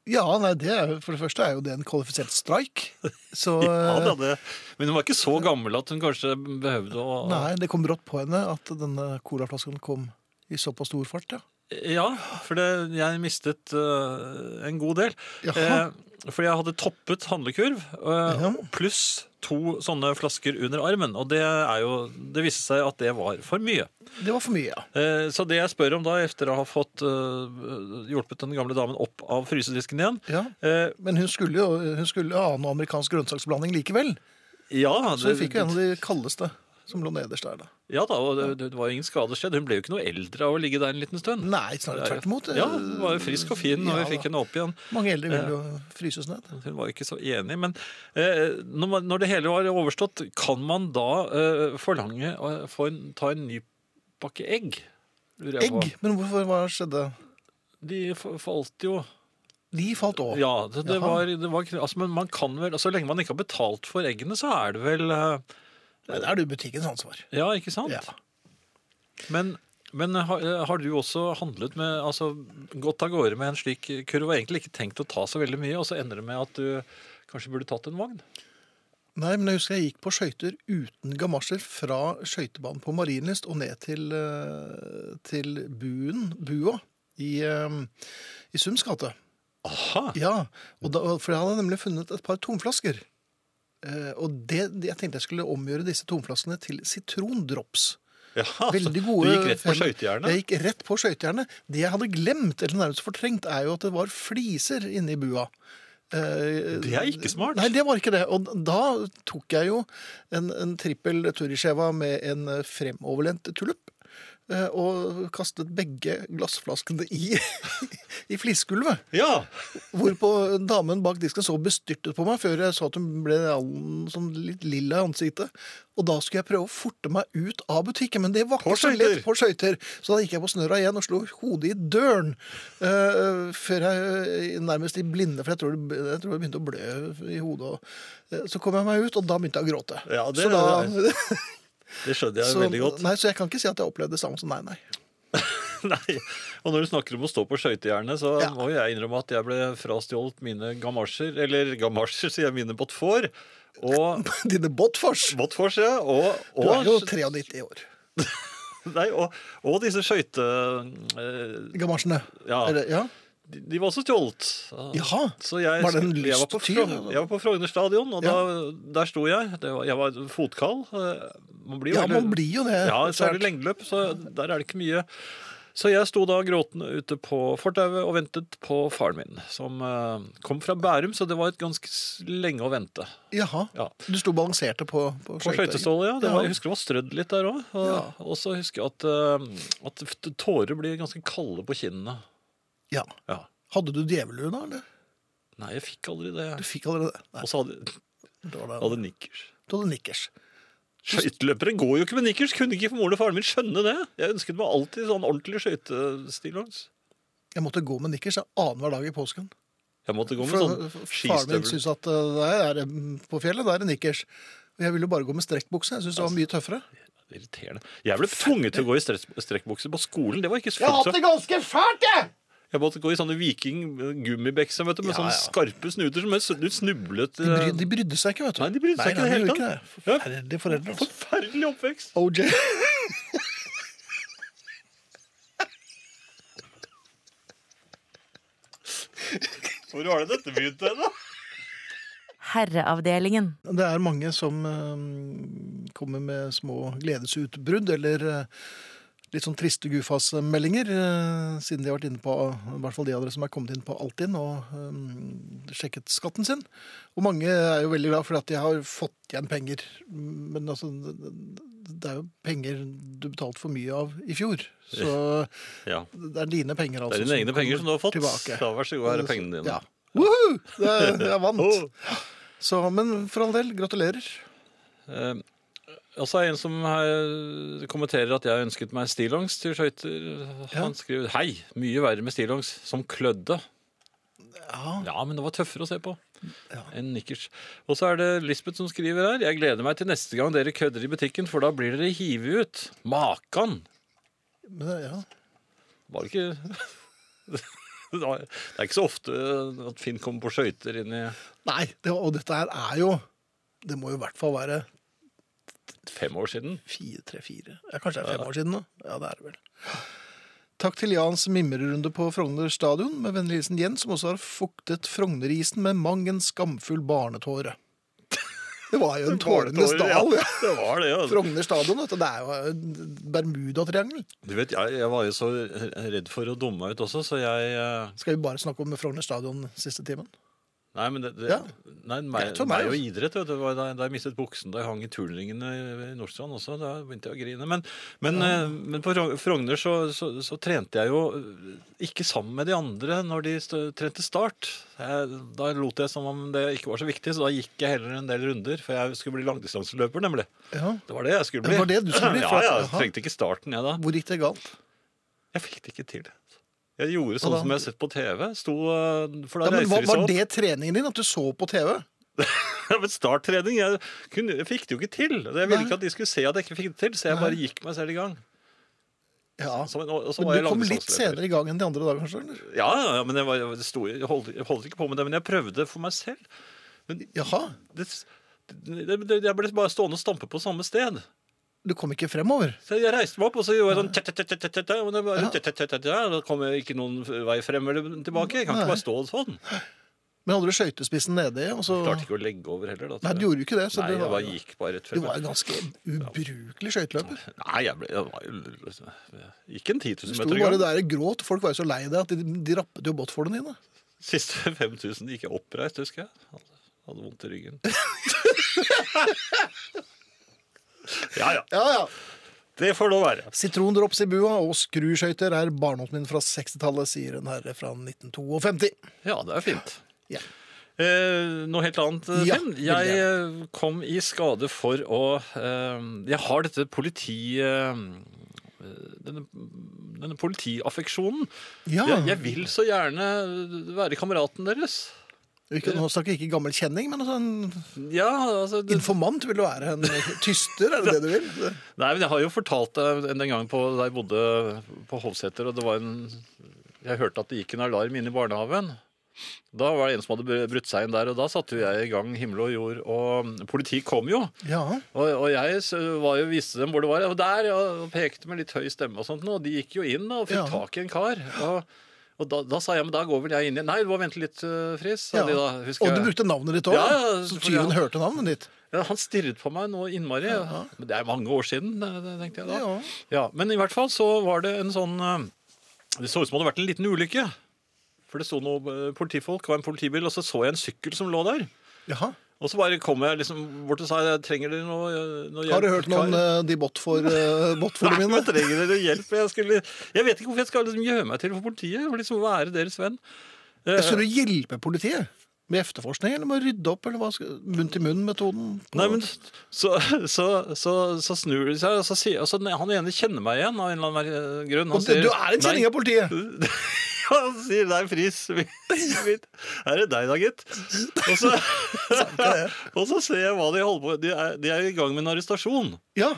Speaker 1: ja, nei, det er, jo- for det første er jo det en kvalifisert strike. Så
Speaker 2: Ja da,
Speaker 1: eh,
Speaker 2: det Men hun var ikke så gammel at hun kanskje behøvde å
Speaker 1: eh, nei, det kom brått på henne at denne colaflasken kom i såpass stor fart, ja.
Speaker 2: Ja, for det, jeg mistet øh, en god del.
Speaker 1: Jaha.
Speaker 2: Eh, fordi jeg hadde toppet handlekurv øh, pluss to sånne flasker under armen. Og det, er jo, det viste seg at det var for mye.
Speaker 1: Det var for mye, ja.
Speaker 2: Eh, Så det jeg spør om da, etter å ha fått øh, hjulpet den gamle damen opp av frysedisken igjen
Speaker 1: ja.
Speaker 2: eh,
Speaker 1: Men hun skulle jo hun skulle jo ha noe amerikansk grønnsaksblanding likevel.
Speaker 2: Ja,
Speaker 1: Så hun
Speaker 2: det-
Speaker 1: fikk jo en av de kaldeste som lå nederst der, da.
Speaker 2: Ja da, og det, det var jo ingen skader skjedd. Hun ble jo ikke noe eldre av å ligge der en liten stund.
Speaker 1: Nei, snarere tvert imot. eh,
Speaker 2: Ja, hun var jo frisk og fin
Speaker 1: Ja,
Speaker 2: når vi fikk
Speaker 1: da.
Speaker 2: henne opp igjen.
Speaker 1: Mange eldre vil jo fryses ned.
Speaker 2: Hun var jo ikke så enig, men eh, når, man, når det hele var overstått, kan man da eh, forlange å få en, ta en ny pakke egg? Lurer jeg på.
Speaker 1: Egg? Men hvorfor, hva skjedde?
Speaker 2: De fa- falt jo
Speaker 1: De falt òg.
Speaker 2: Ja, det, det
Speaker 1: Jaha.
Speaker 2: var, det var altså, Men man kan vel Så lenge man ikke har betalt for eggene, så er det vel eh,
Speaker 1: Nei, Det er det jo butikkens ansvar.
Speaker 2: Ja, ikke sant?
Speaker 1: Ja.
Speaker 2: Men, men har, har du også handlet med, altså gått av gårde med en slik kurv og egentlig ikke tenkt å ta så veldig mye, og så ender det med at du kanskje burde tatt en vogn?
Speaker 1: Nei, men jeg husker jeg gikk på skøyter uten gamasjer fra skøytebanen på Marienlyst og ned til, eh, til buen, bua, i, eh, i Sunds gate.
Speaker 2: Aha!
Speaker 1: Ja, og da, for jeg hadde nemlig funnet et par tomflasker. Eh, og det, det- jeg tenkte jeg skulle omgjøre disse tomflaskene til sitrondrops.
Speaker 2: Ja, altså,
Speaker 1: Veldig gode
Speaker 2: Du gikk rett på
Speaker 1: fem-
Speaker 2: skøytejernet?
Speaker 1: Jeg gikk rett på skøytejernet. Det jeg hadde glemt, eller nærmest fortrengt, er jo at det var fliser inne i bua. Eh,
Speaker 2: Det er ikke smart.
Speaker 1: Nei, det var ikke det. Og da tok jeg jo en, en trippel Turisheva med en eh, fremoverlent tulupp. eh, og kastet begge glassflaskene i, i flisgulvet.
Speaker 2: Ja!
Speaker 1: Hvorpå damen bak disken så bestyrtet på meg før jeg så at hun ble all- sånn litt lilla i ansiktet. Og da skulle jeg prøve å forte meg ut av butikken, men det var
Speaker 2: På
Speaker 1: ikke så
Speaker 2: skøyter.
Speaker 1: lett på skøyter. Så da gikk jeg på snørra igjen og slo hodet i døren. eh, før jeg eh, nærmest i blinde, for jeg tror, det, jeg tror det begynte å blø i hodet. Og, eh, så kom jeg meg ut, og da begynte jeg å gråte.
Speaker 2: Ja,
Speaker 1: så,
Speaker 2: det-
Speaker 1: da,
Speaker 2: Det skjønner jeg
Speaker 1: så,
Speaker 2: veldig godt.
Speaker 1: nei, så jeg kan ikke si at jeg opplevde det samme som nei, nei.
Speaker 2: Nei. Og når du snakker om å stå på skøytehjernet, så
Speaker 1: Ja.
Speaker 2: må jo jeg innrømme at jeg ble frastjålet mine gamasjer, eller gamasjer, sier jeg, mine botfor. Og
Speaker 1: Dine Botfors!
Speaker 2: botfors, ja. Og,
Speaker 1: Du er jo
Speaker 2: og,
Speaker 1: 93 år.
Speaker 2: nei, og, og disse skøyte... eh,
Speaker 1: Gamasjene.
Speaker 2: Ja.
Speaker 1: Eller- ja.
Speaker 2: De, de var også stjålet.
Speaker 1: Jaha.
Speaker 2: Så jeg,
Speaker 1: Var det en
Speaker 2: jeg var på
Speaker 1: lysttyv,
Speaker 2: Frog-
Speaker 1: eller?
Speaker 2: Jeg var på Frogner stadion, og
Speaker 1: Ja.
Speaker 2: da, der sto jeg. Det var, jeg var fotkald. Eh, Man blir jo
Speaker 1: ja,
Speaker 2: veldig-
Speaker 1: man blir jo det.
Speaker 2: Ja, så er
Speaker 1: etter
Speaker 2: det lengdeløp, så der er det ikke mye. Så jeg sto da gråtende ute på fortauet og ventet på faren min, som eh, kom fra Bærum, så det var et ganske s- lenge å vente.
Speaker 1: hvert. Jaha.
Speaker 2: Ja.
Speaker 1: Du sto og balanserte på, på,
Speaker 2: På
Speaker 1: skøyter.
Speaker 2: skøytestålet, ja. Det var,
Speaker 1: Ja.
Speaker 2: jeg husker det var strødd litt der òg. Og,
Speaker 1: Ja.
Speaker 2: og så husker jeg at, eh, at f- tårer blir ganske kalde på kinnene.
Speaker 1: Ja.
Speaker 2: Ja.
Speaker 1: Hadde du djevelhue da, eller?
Speaker 2: Nei, jeg fikk aldri det.
Speaker 1: Du fikk allerede det. Nei,
Speaker 2: Og så hadde,
Speaker 1: det var det.
Speaker 2: hadde nikkers.
Speaker 1: Du hadde nikkers.
Speaker 2: Skøyteløpere går jo ikke med nikkers. Kunne ikke moren og faren min skjønne det? Jeg ønsket meg alltid sånn ordentlig skøytestillongs.
Speaker 1: Jeg måtte gå med nikkers ja, annenhver dag i påsken.
Speaker 2: Jeg måtte gå med
Speaker 1: For
Speaker 2: sånn
Speaker 1: faren min
Speaker 2: skistøvel.
Speaker 1: syntes at uh, der er det mm, på fjellet, der er det nikkers. Og jeg ville jo bare gå med strekkbukse. Jeg syntes
Speaker 2: Altså,
Speaker 1: det var mye tøffere.
Speaker 2: Irriterende. Jeg ble tvunget til å gå i stress- strekkbukser på skolen. Det var ikke
Speaker 4: Jeg har
Speaker 2: fullt
Speaker 4: hatt
Speaker 2: så.
Speaker 4: det ganske fælt, jeg!
Speaker 2: Jeg måtte gå i sånne viking-gummibekser vet du, med
Speaker 1: Ja,
Speaker 2: sånne
Speaker 1: ja.
Speaker 2: skarpe snuter som jeg snu- snublet
Speaker 1: De, bry,
Speaker 2: eh,
Speaker 1: de brydde seg ikke, vet du.
Speaker 2: Nei, de brydde seg ikke i det hele
Speaker 1: gjorde
Speaker 2: tatt.
Speaker 1: ikke det. Forferdelige foreldre. altså.
Speaker 2: eh, Forferdelig oppvekst.
Speaker 1: OJ.
Speaker 2: Hvor har du dette begynt hen, da?
Speaker 10: Herreavdelingen.
Speaker 1: Det er mange som eh, kommer med små gledesutbrudd eller eh, litt sånn triste Gufas-meldinger, eh, siden de har vært inne på, i hvert fall de av dere som er kommet inn på Altinn og eh, sjekket skatten sin. Og mange er jo veldig glad for at de har fått igjen penger. Men altså, det det er jo penger du betalte for mye av i fjor. Så
Speaker 2: Ja.
Speaker 1: det er dine penger, altså.
Speaker 2: Det er
Speaker 1: som
Speaker 2: dine egne penger som du har fått.
Speaker 1: tilbake.
Speaker 2: Da vær så god, her er pengene dine.
Speaker 1: Ja. Woohoo! Det er- Jeg
Speaker 2: Åh.
Speaker 1: vant. Så, men for all del, gratulerer.
Speaker 2: Eh, og så er det en som her kommenterer at jeg ønsket meg stillongs til skøyter. Han skriver Hei, mye verre med stillongs. Som klødde.
Speaker 1: Ja.
Speaker 2: men det var tøffere å se på enn nikkers. Og så er det Lisbeth som skriver her. Jeg gleder meg til neste gang dere kødder i butikken, for da blir dere hivet ut. Makan!
Speaker 1: Men, det- ja.
Speaker 2: Var det ikke Det var- det er ikke så ofte at Finn kommer på skøyter inn i
Speaker 1: Nei, det, og dette her er jo Det må jo i hvert fall være
Speaker 2: fem år siden.
Speaker 1: fire, tre, fire. Ja, kanskje det er fem år siden, da. Ja, det er det vel. Takk til Jans mimrerunde på Frogner stadion, med vennlig hilsen Jens, som også har fuktet Frognerisen med mang en skamfull barnetåre. Det var jo en tårenes
Speaker 2: Tårer, ja.
Speaker 1: dal. Ja.
Speaker 2: Det var det, altså. ja.
Speaker 1: Frogner stadion, vet du. Det er jo en Bermudatriangel.
Speaker 2: Du vet, jeg, jeg var jo så redd for å dumme meg ut også, så jeg eh,
Speaker 1: Skal vi bare snakke om Frogner stadion siste timen?
Speaker 2: Nei, men det, det,
Speaker 1: Ja.
Speaker 2: nei, meg,
Speaker 1: Greit for
Speaker 2: meg
Speaker 1: meg,
Speaker 2: og
Speaker 1: altså.
Speaker 2: idrett. Vet du, Det var da, da jeg mistet buksen da jeg hang i turnringene i- i Nordstrand også, da begynte jeg å grine. Men, men, eh, men på Frog- Frogner så, så, så trente jeg jo eh, ikke sammen med de andre når de stø- trente start. Jeg, da lot jeg som om det ikke var så viktig, så da gikk jeg heller en del runder, for jeg skulle bli langdistanseløper, nemlig.
Speaker 1: Ja.
Speaker 2: Det var det jeg skulle bli.
Speaker 1: Det var det du skulle bli, for
Speaker 2: Ja,
Speaker 1: at-
Speaker 2: ja, jeg
Speaker 1: jaha.
Speaker 2: trengte ikke starten, jeg da.
Speaker 1: Hvor gikk det galt?
Speaker 2: Jeg fikk det ikke til. Jeg gjorde sånn
Speaker 1: da-
Speaker 2: som jeg har sett på TV. Sto, eh, for da
Speaker 1: Ja, men
Speaker 2: reiser
Speaker 1: hva,
Speaker 2: de seg
Speaker 1: Var
Speaker 2: opp.
Speaker 1: det treningen din? At du så på TV?
Speaker 2: Ja, men starttrening jeg, kunne, jeg fikk det jo ikke til. Jeg ville ikke at de skulle se at jeg ikke fikk det til, så jeg bare gikk meg selv i gang.
Speaker 1: Ja.
Speaker 2: Så, og, og så var
Speaker 1: Men
Speaker 2: jeg
Speaker 1: du kom litt
Speaker 2: langdistanseløper.
Speaker 1: senere i gang enn de andre da, kanskje? Eller?
Speaker 2: Ja, ja, ja, men jeg, var, jeg, sto, jeg, holdt, jeg holdt ikke på med det, men jeg prøvde for meg selv.
Speaker 1: Jaha.
Speaker 2: Det, det, det, jeg ble bare stående og stampe på samme sted.
Speaker 1: Du kom ikke fremover?
Speaker 2: Så jeg reiste meg opp, og så gjorde jeg sånn tja, tja, tja, tja, tja, tja, og det bare tja, tja, tja, tja, tja, Da kom jeg ikke noen vei frem eller tilbake. Jeg kan
Speaker 1: Nei.
Speaker 2: ikke bare stå sånn.
Speaker 1: Men hadde du skøytespissen nede? Og så...
Speaker 2: Klarte ikke å legge over heller. Da,
Speaker 1: Nei, du gjorde jo ikke det. Så
Speaker 2: Nei,
Speaker 1: det
Speaker 2: jeg
Speaker 1: var,
Speaker 2: bare gikk bare rett
Speaker 1: Du
Speaker 2: frem.
Speaker 1: var en ganske ubrukelig skøyteløper.
Speaker 2: Nei, jeg ble jeg var jo Ikke en 10
Speaker 1: Du sto
Speaker 2: 000 meter i
Speaker 1: bare
Speaker 2: gang.
Speaker 1: der og gråt. Folk var jo så lei deg at de, de rappet jo båtforene dine.
Speaker 2: Siste 5000 gikk jeg oppreist, husker jeg. Hadde, hadde vondt i ryggen. ja, ja.
Speaker 1: Ja, ja.
Speaker 2: Det får lov være.
Speaker 1: Sitrondrops i bua og skruskøyter er barndommen min fra 60-tallet, sier en herre fra 1952.
Speaker 2: Ja, det er fint.
Speaker 1: Ja.
Speaker 2: Eh, noe helt annet, eh,
Speaker 1: Ja,
Speaker 2: Finn.
Speaker 1: veldig
Speaker 2: Jeg eh, kom i skade for å eh, Jeg har dette politi... Eh, denne, denne politiaffeksjonen.
Speaker 1: Ja,
Speaker 2: Jeg, jeg vil så gjerne være kameraten deres.
Speaker 1: ikke, Nå snakker jeg ikke gammel kjenning, men altså en
Speaker 2: Ja, altså det,
Speaker 1: informant vil du være. En tyster, er det det du vil?
Speaker 2: Nei, men jeg har jo fortalt deg en- den gangen på, da jeg bodde på Hovseter, og det var en Jeg hørte at det gikk en alarm inne i barnehagen. Da var det en som hadde br- brutt seg inn der, og da satte jo jeg i gang himmel og jord, og politiet kom jo.
Speaker 1: Ja.
Speaker 2: Og, og jeg s- var jo, viste dem hvor det var, og der, ja, og pekte med litt høy stemme og sånt, nå, og de gikk jo inn da, og fikk
Speaker 1: Ja.
Speaker 2: tak i en kar. Og, og da, da sa jeg, men da går vel jeg inn igjen. Nei, du må vente litt, eh, Friis. sa
Speaker 1: ja.
Speaker 2: de da, husker
Speaker 1: Og du
Speaker 2: jeg.
Speaker 1: brukte navnet ditt òg,
Speaker 2: Ja, ja,
Speaker 1: så
Speaker 2: for
Speaker 1: tyven
Speaker 2: jeg-
Speaker 1: hørte navnet ditt.
Speaker 2: Ja, han stirret på meg nå innmari. Men det er mange år siden, det- det tenkte jeg da.
Speaker 1: Ja.
Speaker 2: Ja. men i hvert fall så var det en sånn eh, Det så ut som det hadde vært en liten ulykke. For det sto noen eh, politifolk og en politibil, og så så jeg en sykkel som lå der.
Speaker 1: Jaha.
Speaker 2: Og så bare kom jeg liksom bort og sa jeg trenger dere noe, eh, noe
Speaker 1: Har du
Speaker 2: hjelp,
Speaker 1: hørt noe om
Speaker 2: kar?»
Speaker 1: eh, de bot-formene
Speaker 2: Nei,
Speaker 1: mine?
Speaker 2: men trenger dere hjelp? Jeg, skulle, jeg vet ikke hvorfor jeg skal liksom gjøre meg til for politiet. For liksom være deres venn. Eh,
Speaker 1: Jeg skulle hjelpe politiet med efterforskning, eller med å rydde opp, eller hva skal munn-til-munn-metoden? på-
Speaker 2: Nei, men så, så, så, så snur de seg, og så sier og så Han ene kjenner meg igjen av en eller annen mer- eh, grunn. Han
Speaker 1: Og du, du er en kjenning av politiet!
Speaker 2: politiet! Han sier 'det er Friis'. Er det deg da, gitt? Og så,
Speaker 1: Sånn
Speaker 2: og så ser jeg hva de holder på med. De er, de er i gang med en arrestasjon.
Speaker 1: Ja.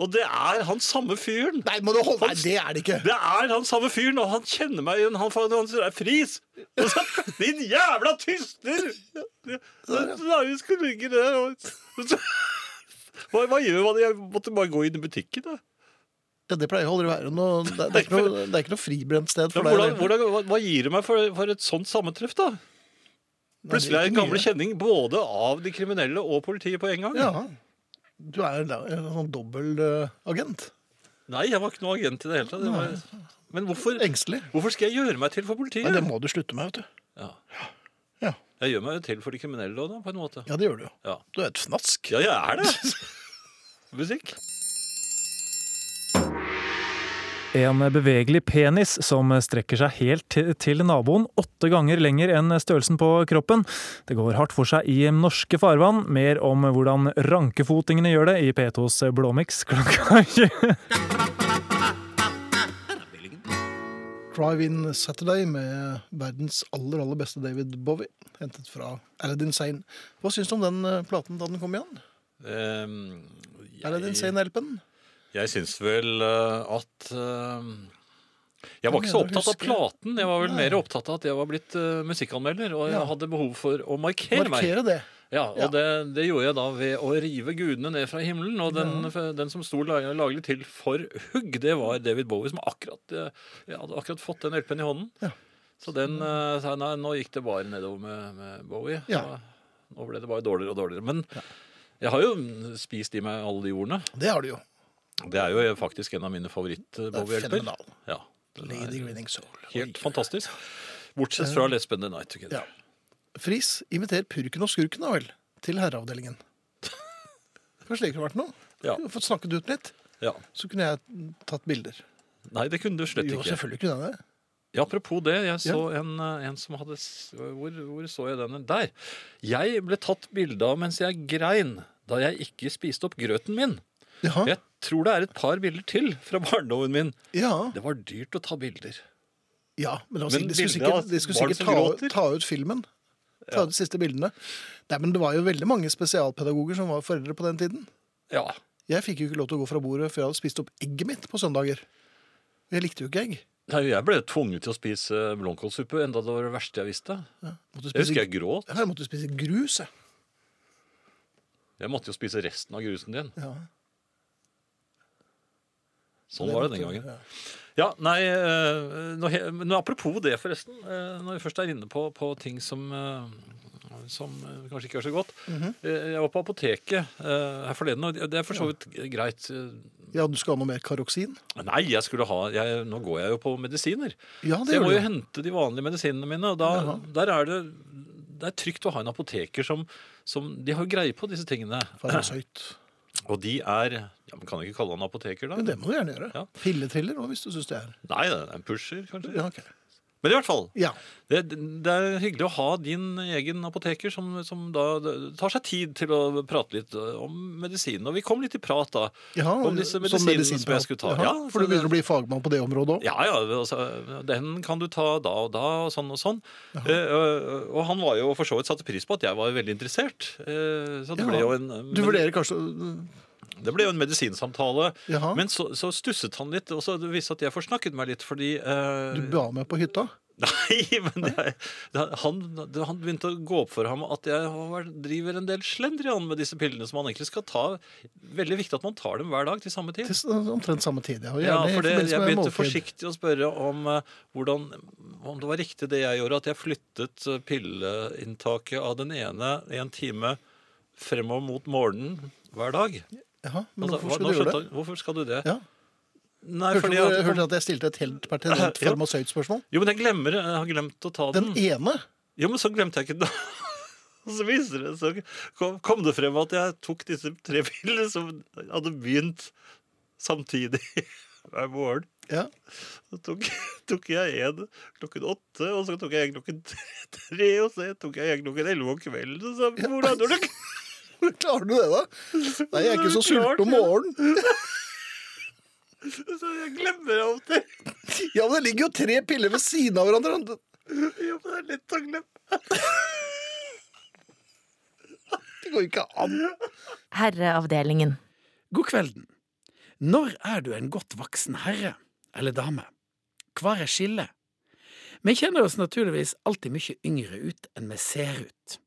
Speaker 2: Og det er han samme fyren!
Speaker 1: Nei, må du holde Nei, det er det ikke.
Speaker 2: Det er han samme fyren, og han kjenner meg igjen. Han, han sier 'det er Friis'. Og så, Din jævla tyster! Larius skulle ligge der og og så- hva, hva gjør man? Jeg måtte bare gå inn i butikken. Da.
Speaker 1: Ja, det pleier aldri å være noe Det, det, er, ikke noe, det er ikke noe fribrent sted for
Speaker 2: Men
Speaker 1: deg.
Speaker 2: hvordan, hvordan, hva, hva gir det meg for, for et sånt sammentreff, da?
Speaker 1: Nei, det
Speaker 2: Plutselig er jeg
Speaker 1: ikke
Speaker 2: en gamle
Speaker 1: mye.
Speaker 2: kjenning både av de kriminelle og politiet på en gang.
Speaker 1: Ja. Du er en, en sånn dobbel eh, agent.
Speaker 2: Nei, jeg var ikke noe agent i det hele tatt. Det var, men hvorfor,
Speaker 1: Engstelig.
Speaker 2: hvorfor skal jeg gjøre meg til for politiet?
Speaker 1: Nei, det må du slutte med, vet du.
Speaker 2: Ja.
Speaker 1: Ja.
Speaker 2: Jeg gjør meg jo til for de kriminelle òg, da, på en måte.
Speaker 1: Ja, det gjør du jo.
Speaker 2: Ja.
Speaker 1: Du er et fnask.
Speaker 2: Ja, jeg er det. Musikk.
Speaker 10: En bevegelig penis som strekker seg helt til- til naboen, åtte ganger lenger enn størrelsen på kroppen. Det går hardt for seg i norske farvann. Mer om hvordan rankefotingene gjør det i P2s Blåmix klokka 20.
Speaker 1: Drive In Saturday med verdens aller aller beste David Bowie. Hentet fra Aladdin Sane. Hva syns du om den eh, platen da den kom igjen?
Speaker 2: Ehm,
Speaker 1: Aladdin
Speaker 2: jeg
Speaker 1: Sane-LP-en?
Speaker 2: jeg syns vel eh, at eh, Jeg
Speaker 1: Jeg
Speaker 2: var ikke
Speaker 1: mener
Speaker 2: så
Speaker 1: å
Speaker 2: opptatt av
Speaker 1: huske-
Speaker 2: platen. Jeg var vel
Speaker 1: Nei.
Speaker 2: mer opptatt av at jeg var blitt eh, musikkanmelder, og
Speaker 1: Ja.
Speaker 2: jeg hadde behov for å markere, meg.
Speaker 1: Markere det.
Speaker 2: Ja, og
Speaker 1: Ja.
Speaker 2: Det, det gjorde jeg da ved å rive gudene ned fra himmelen. Og den, den som sto la- laglig til for hugg, det var David Bowie, som akkurat eh, jeg hadde akkurat fått den LP-en i hånden.
Speaker 1: Ja.
Speaker 2: Så den eh, sa jeg, nei, nå gikk det bare nedover med, med Bowie.
Speaker 1: Ja.
Speaker 2: Så nå ble det bare dårligere og dårligere. Men jeg har jo spist i meg alle de ordene.
Speaker 1: Det har du jo.
Speaker 2: Det er jo eh, faktisk en av mine favoritt-Bowie-hjelper.
Speaker 1: fenomenal.
Speaker 2: Ja, den er
Speaker 1: Lady Grinning Soul.
Speaker 2: helt fantastisk. Bortsett
Speaker 1: Eh.
Speaker 2: fra Let's Spend the Night Together.
Speaker 1: Ja. Friis, inviter purken og skurken da vel til herreavdelingen. Kanskje det kunne vært noe?
Speaker 2: Ja.
Speaker 1: Kunne Fått snakket ut litt,
Speaker 2: Ja.
Speaker 1: så kunne jeg tatt bilder.
Speaker 2: Nei, det kunne du slett
Speaker 1: Jo,
Speaker 2: ikke.
Speaker 1: selvfølgelig kunne jeg det.
Speaker 2: Ja, apropos det, jeg så en, eh, en som hadde s- hvor, hvor så jeg den? Der. Jeg ble tatt bilde av mens jeg grein da jeg ikke spiste opp grøten min.
Speaker 1: Jaha.
Speaker 2: Jeg tror det er et par bilder til fra barndommen min.
Speaker 1: Ja,
Speaker 2: Det var dyrt å ta bilder.
Speaker 1: ja, men, det var
Speaker 2: Men
Speaker 1: sikkert- de skulle
Speaker 2: bildet av
Speaker 1: sikkert, de skulle
Speaker 2: barn
Speaker 1: sikkert
Speaker 2: som
Speaker 1: ta,
Speaker 2: gråter?
Speaker 1: ta ut filmen. Ta ut de siste bildene. Nei, men det var jo veldig mange spesialpedagoger som var foreldre på den tiden.
Speaker 2: Ja,
Speaker 1: Jeg fikk jo ikke lov til å gå fra bordet før jeg hadde spist opp egget mitt på søndager. Jeg likte jo ikke egg.
Speaker 2: Nei, Jeg ble tvunget til å spise eh, blomkålsuppe, enda det var det verste jeg visste.
Speaker 1: Måtte
Speaker 2: Jeg
Speaker 1: spise,
Speaker 2: husker jeg gråt.
Speaker 1: Ja, jeg måtte spise grus, jeg.
Speaker 2: Jeg måtte jo spise resten av grusen din.
Speaker 1: Ja.
Speaker 2: Sånn var det den gangen.
Speaker 1: Ja.
Speaker 2: Ja, nei, eh, nå, he- men apropos det forresten, eh, når vi først er inne på, på ting som, eh, som eh, kanskje ikke gjør så godt.
Speaker 1: Mhm.
Speaker 2: Eh, Jeg var på apoteket eh, her forleden, og det er for så vidt greit. eh,
Speaker 1: Ja, du skal ha noe mer karoksin?
Speaker 2: Nei, jeg skulle ha, jeg, nå går jeg jo på medisiner.
Speaker 1: Ja,
Speaker 2: Så
Speaker 1: det
Speaker 2: jeg må
Speaker 1: gjør du.
Speaker 2: jo hente de vanlige medisinene mine, og da, der er det, det er trygt å ha en apoteker som, som de har greie på disse tingene.
Speaker 1: Farmasøyt.
Speaker 2: Og de er ja, Man kan ikke kalle han apoteker, da.
Speaker 1: Men det må du gjerne gjøre.
Speaker 2: Ja.
Speaker 1: Pilletriller òg, hvis du syns det er
Speaker 2: Nei, det er en pusher, kanskje.
Speaker 1: ja, ok.
Speaker 2: Men i hvert fall.
Speaker 1: Ja.
Speaker 2: Det, det er hyggelig å ha din egen apoteker som, som da tar seg tid til å prate litt om medisin. Og vi kom litt i prat da
Speaker 1: Jaha,
Speaker 2: om disse
Speaker 1: som
Speaker 2: medisinene
Speaker 1: medisin-
Speaker 2: som jeg skulle ta.
Speaker 1: Jaha,
Speaker 2: Ja,
Speaker 1: for du
Speaker 2: så det-
Speaker 1: begynner å bli fagmann på det området òg?
Speaker 2: ja, ja, altså, den kan du ta da og da, og sånn og sånn. Eh, og- og han var jo for så vidt satte pris på at jeg var veldig interessert. Eh, så det ble jo en
Speaker 1: Du
Speaker 2: men-
Speaker 1: vurderer kanskje
Speaker 2: det ble jo en medisinsamtale.
Speaker 1: Jaha.
Speaker 2: Men så, så stusset han litt, og så viste det at jeg forsnakket meg litt, fordi eh,
Speaker 1: Du ba med på hytta?
Speaker 2: Nei, men jeg, det- han, det, han begynte å gå opp for ham at jeg har vært- driver en del slendrian med disse pillene, som man egentlig skal ta Veldig viktig at man tar dem hver dag til samme tid.
Speaker 1: Til s- omtrent samme tid, ja. og
Speaker 2: Ja,
Speaker 1: gjerne i
Speaker 2: for det,
Speaker 1: forbindelse
Speaker 2: Jeg
Speaker 1: med
Speaker 2: begynte
Speaker 1: måltid.
Speaker 2: forsiktig å spørre om eh, hvordan, om det var riktig det jeg gjorde, at jeg flyttet eh, pilleinntaket av den ene en time fremover mot morgenen hver dag.
Speaker 1: Jaha, men
Speaker 2: Altså,
Speaker 1: hvorfor
Speaker 2: hva-
Speaker 1: skal du
Speaker 2: nå
Speaker 1: gjøre
Speaker 2: skjønte
Speaker 1: det?
Speaker 2: han- Hvorfor skal du det?
Speaker 1: Ja.
Speaker 2: Nei,
Speaker 1: Hørte
Speaker 2: fordi
Speaker 1: du
Speaker 2: at-
Speaker 1: hørte du at jeg stilte et helt pertinent
Speaker 2: Ja.
Speaker 1: farmasøytspørsmål?
Speaker 2: Jo, men jeg glemmer det. Jeg har glemt å ta den.
Speaker 1: Den ene?
Speaker 2: Jo, men så glemte jeg ikke den. Og så viser det, så kom, kom det frem at jeg tok disse tre pillene som hadde begynt samtidig hver morgen.
Speaker 1: Ja.
Speaker 2: Så tok, tok jeg en klokken åtte, og så tok jeg en klokken tre, og så tok jeg en klokken elleve om kvelden. Og så hvordan har du
Speaker 1: Klarer du det, da? Nei, jeg er ikke så
Speaker 2: Klart,
Speaker 1: sulten om
Speaker 2: ja.
Speaker 1: morgenen.
Speaker 2: Så jeg glemmer av og til.
Speaker 1: Ja, men det ligger jo tre piller ved siden av hverandre.
Speaker 2: Jo, men det er lett å glemme.
Speaker 1: Det går ikke an.
Speaker 11: Herreavdelingen.
Speaker 12: God kvelden. Når er du en godt voksen herre eller dame? Hvar er skillet? Vi kjenner oss naturligvis alltid mye yngre ut enn vi ser ut.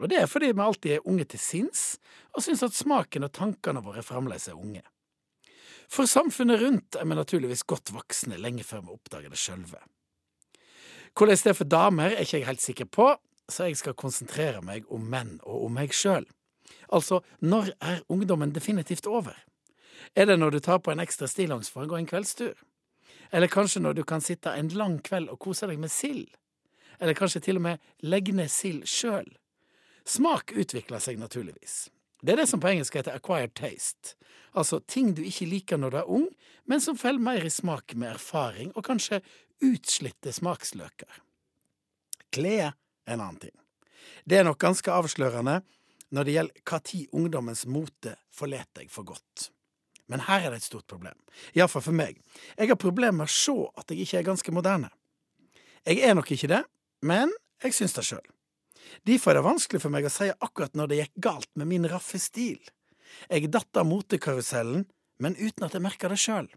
Speaker 12: Og det er fordi vi alltid er unge til sinns, og syns at smaken og tankene våre fremdeles er unge. For samfunnet rundt er vi naturligvis godt voksne lenge før vi oppdager det sjølve. Hvordan det er for damer, er ikke jeg helt sikker på, så jeg skal konsentrere meg om menn og om meg sjøl. Altså, når er ungdommen definitivt over? Er det når du tar på en ekstra stillongs for å gå en kveldstur? Eller kanskje når du kan sitte en lang kveld og kose deg med sild? Eller kanskje til og med legge ned sild sjøl? Smak utvikler seg naturligvis. Det er det som på engelsk heter acquired taste, altså ting du ikke liker når du er ung, men som faller mer i smak med erfaring og kanskje utslitte smaksløker. Klær er en annen ting. Det er nok ganske avslørende når det gjelder hva tid ungdommens mote forlater deg for godt. Men her er det et stort problem, iallfall for meg. Jeg har problemer med å se at jeg ikke er ganske moderne. Jeg er nok ikke det, men jeg syns det sjøl. Derfor er det vanskelig for meg å si akkurat når det gikk galt med min raffe stil. Jeg datt av motekarusellen, men uten at jeg merka det sjøl.